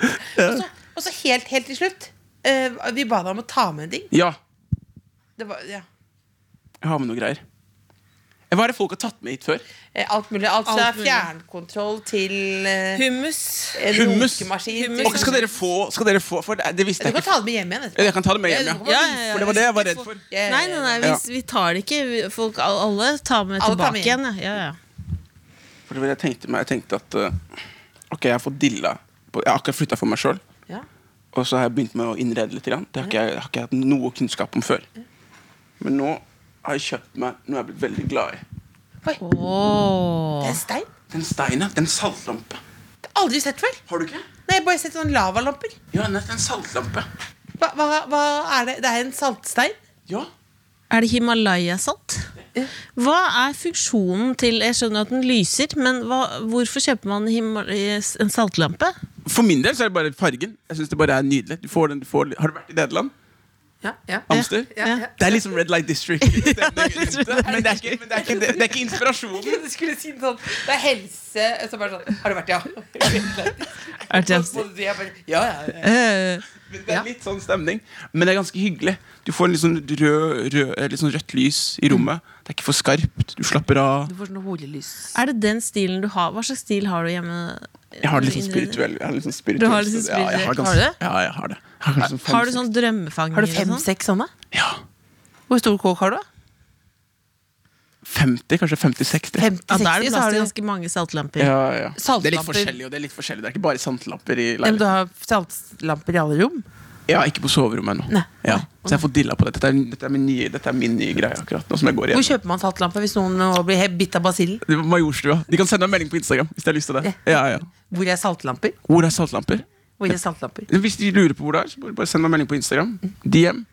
D: Og så, og så helt, helt til slutt. eh, vi ba deg om å ta med en ting.
E: Ja,
D: Det var, ja.
E: Jeg har med noe greier. Eh, Hva er det folk har tatt med hit før?
D: Eh, Alt mulig. Alt fra
C: Alt mulig.
D: fjernkontroll til eh,
C: Hummus.
D: en
E: Hummus.
D: runkemaskin.
C: Hummus.
E: Ok, skal dere få, skal dere få For det, det visste
D: Du
E: jeg
D: kan
E: ikke.
D: ta det med hjem igjen
E: Ja,
D: etterpå.
E: Jeg kan ta det med hjem, ja.
C: Ja, ja, ja.
E: For det var det jeg var redd for.
D: Ja, ja,
C: Nei, nei,
D: ja.
C: nei,
E: Ja.
C: vi, vi tar det ikke. Vi- Folk, al- alle tar med
D: Alle tar
C: tilbake
D: med
C: igjen. ja. Ja, ja.
E: For det var det jeg tenkte meg Jeg tenkte at eh, Ok, jeg har fått dilla på, Jeg har akkurat flytta for meg sjøl,
D: Ja.
E: og så har jeg begynt med å innrede litt. Grann. Det har ikke jeg har ikke jeg hatt noe kunnskap om før. Men nå har jeg kjøpt meg Nå er jeg blitt veldig glad i
D: Oi, det er
C: Åh.
D: en stein.
E: den steinen. Den saltlampa.
D: Aldri sett før.
E: Har du ikke?
D: Nei, jeg har bare sett sånne lavalamper.
E: Ja, nett en saltlampe.
D: Hva, hva, hva er det? Det er en saltstein?
E: Ja.
C: Er det Himalaya-salt? Hva er funksjonen til Jeg skjønner at den lyser, men hva, hvorfor kjøper man Himal- en saltlampe?
E: For min del så er det bare fargen. Jeg synes det bare er nydelig du får den, du får, Har du vært i Nederland?
D: Ja, ja.
E: Amster?
D: Ja, ja.
E: Det er liksom Red Light District. Stemning rundt det. Men det er ikke, men det er ikke, det er ikke inspirasjonen.
D: Du skulle si det sånn Det er helse så bare sånn, Har du vært, ja?
C: Er det Øh.
D: Både de er bare, ja, ja, ja.
E: Men det er litt sånn stemning. Men det er ganske hyggelig. Du får en litt sånn rød, rød, eh, litt sånn rødt lys i rommet. Det er ikke for skarpt. Du slapper av.
D: Du får sånne hodelys.
C: Er det den stilen du har? Hva slags stil har du hjemme?
E: Jeg har det litt sånn spirituell. Jeg har litt sånn spirituell.
C: Du har litt sånn
E: Ja, jeg har,
C: spirituell.
E: ganske,
D: Har du det?
E: Ja, jeg har det. Jeg har, kanskje fem,
C: Har du
E: seks-
C: sånn drømmefanger?
D: Har du
C: og sånn?
D: fem-seks sånne?
E: Ja.
D: Hvor stor kåk har du?
E: 50, kanskje 50-60.
C: Ja, da er
D: 50-60,
C: det
D: så
C: plass
D: har
C: til
D: du
C: ganske mange saltlamper.
E: Ja, ja. Det er litt
D: Saltlamper.
E: forskjellig, og det er litt forskjellig. Det er ikke bare saltlamper i
D: Ja, men du
E: leiligheten.
D: har saltlamper i alle rom?
E: Ja, ikke på soverommet ennå.
D: Nei.
E: Ja. Så jeg får dilla på det. Dette er, dette er, min, nye, dette er min nye greie akkurat nå som jeg går
D: Hvor
E: igjen.
D: kjøper man saltlampe hvis noen nå blir he- bitt av basillen?
E: Det var Majorstua. De kan sende meg en melding på Instagram hvis de har lyst til det. Ja, ja.
D: Hvor er saltlamper?
E: Hvor er saltlamper?
D: Hvor er saltlamper?
E: Hvis de lurer på hvor det er, så bare- bare send meg en melding på Instagram. DM.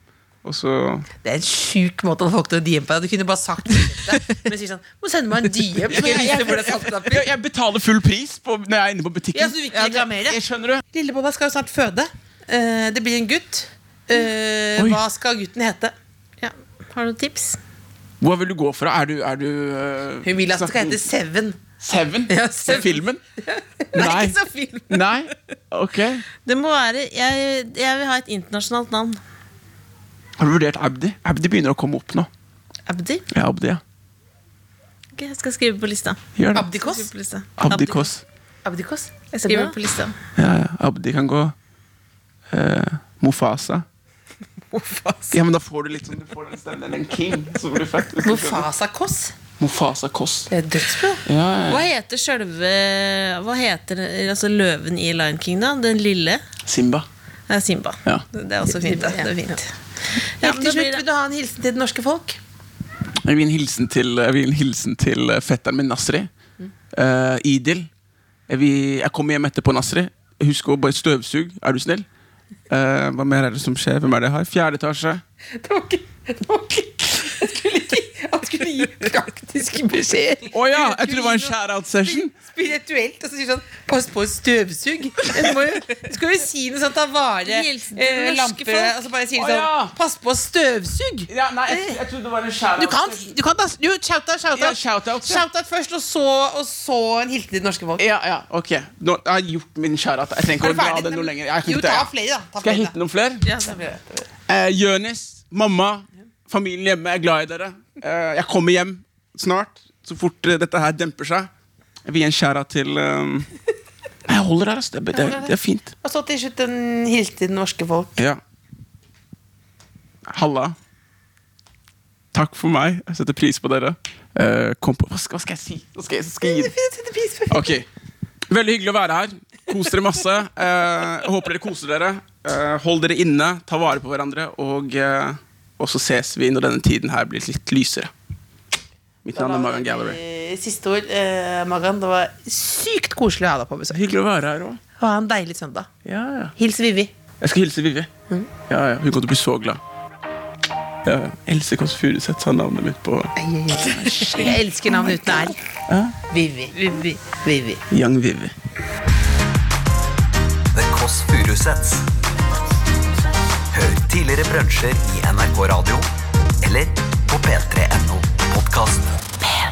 E: Og så
D: Det er en sjuk måte å få folk til å DM på deg. Du kunne bare sagt det. Men sier sånn Må sende meg en DM, så skal jeg vise deg hvor det er saltlamper.
E: jeg, jeg betaler full pris på, når jeg er inne på butikken.
D: Ja, så du vil ikke reklamere?
E: Jeg skjønner du.
D: Lillebolla skal jo snart føde. Eh, det blir en gutt. Eh,
E: Oi.
D: hva skal gutten hete?
C: Ja. Har du noen tips?
E: Hvor vil du gå fra? Er du, er du øh,
D: Hun vil at den skal
E: snakker-
D: hete Seven.
E: Seven?
D: Ja, Seven.
E: Filmen?
D: Nei,
E: Nei.
D: ikke så film.
E: Nei? Ok.
C: Det må være Jeg, jeg vil ha et internasjonalt navn.
E: Har du vurdert Abdi? Abdi begynner å komme opp nå.
C: Abdi.
E: Ja, Abdi, ja.
C: Ok, jeg skal skrive på lista.
E: Gjør det.
D: Abdi Kåss?
C: Skrive på lista.
E: Abdi Kåss.
D: Abdikos?
C: Jeg skriver på lista.
E: Ja, ja. Abdi kan gå. Eh, Mofasa. Ja, men da får du litt sånn Du får den stemmen. En king. Så blir du fett.
D: Mofasa Kåss?
E: Mofasa Kåss.
D: Det er dødsbra.
E: Ja, ja.
C: Hva heter sjølve Hva heter altså løven i Lion King, da? Den lille?
E: Simba.
C: Det er Simba.
E: Ja.
C: Det er også fint. da.
D: Simba, ja.
C: Det er fint. Ja,
D: Helt
C: men da
D: til
C: blir
D: slutt,
C: det-
D: vil du ha en hilsen til det norske folk?
E: Jeg vil gi en hilsen til, jeg vil gi en hilsen til eh, fetteren min Nasri. Eh, Idil. Jeg, vil, jeg kommer hjem etterpå, Nasri. Husk å bare støvsug, er du snill. Eh, hva mer er det som skjer? Hvem er det jeg har? Fjerde etasje.
D: Det var ikke, det var ikke. Jeg skulle ikke Han skulle gi praktiske beskjeder.
E: Å ja! Jeg trodde det var en shout-out-session.
D: Spirituelt. Og så sier han pass på å støvsug. Du må jo, du skal jo si noe sånt ta vare
C: Hilsen til det
D: eh,
C: norske
D: lamper
C: folk.
D: Og så bare sier
E: Å,
D: du
E: ja.
D: sånn Pass på å støvsug!
E: Ja, nei, jeg, jeg trodde det var en shout-out.
D: Du kan, du kan da jo, shout out, shout out.
E: Ja, shout-out, ja.
D: Shout out først, og så, og så en hilsen til det norske folk.
E: Ja, ja, ok. Nå, jeg har gjort min shout-out. Jeg trenger
D: Er
E: ikke
D: du
E: å dra
D: ferdig?
E: den noe lenger. Jeg kan
D: Jo,
E: ikke ta-
D: ta
E: ja.
D: flere, da. Ta
E: Skal jeg
D: flere,
E: hitte noen flere?
D: da. Ja, det blir det.
E: Eh, Jørnis, mamma, familien hjemme, jeg er glad i dere. Eh, jeg kommer hjem snart, så fort eh, dette her demper seg. Jeg vil gi en skjæra til eh, Nei, Jeg holder her, ass. Det, det, det er fint.
D: Og så til slutt en hilsen til det norske folk.
E: Ja. Halla. Takk for meg. Jeg setter pris på dere. Eh, kom på Hva skal, hva skal jeg si? Hva skal jeg, skal jeg gi
D: Jeg setter pris på
E: Ok, Veldig hyggelig å være her. Kos dere masse. Eh, jeg håper dere koser dere. Eh, hold dere inne, ta vare på hverandre, og, eh, og så ses vi når denne tiden her blir litt lysere. Mitt navn er Magan Gallery.
D: Eh, Siste ord, eh, Magan. Det var sykt koselig å ha deg på besøk.
E: Hyggelig å være her òg.
D: Ha en deilig søndag.
E: Ja, ja. Mm.
D: Hils Vivi.
E: Jeg skal hilse Vivi. Ja, ja. Hun kommer til å bli så glad. Ja, ja. Else Kåss Furuseth sa navnet mitt på
D: Jeg elsker navnet uten R. Vivi. Vivi. Vivi.
E: Young Vivi.
B: The Kåss Furuseths. Hør tidligere brunsjer i NRK Radio eller på p3.no podkast. P3.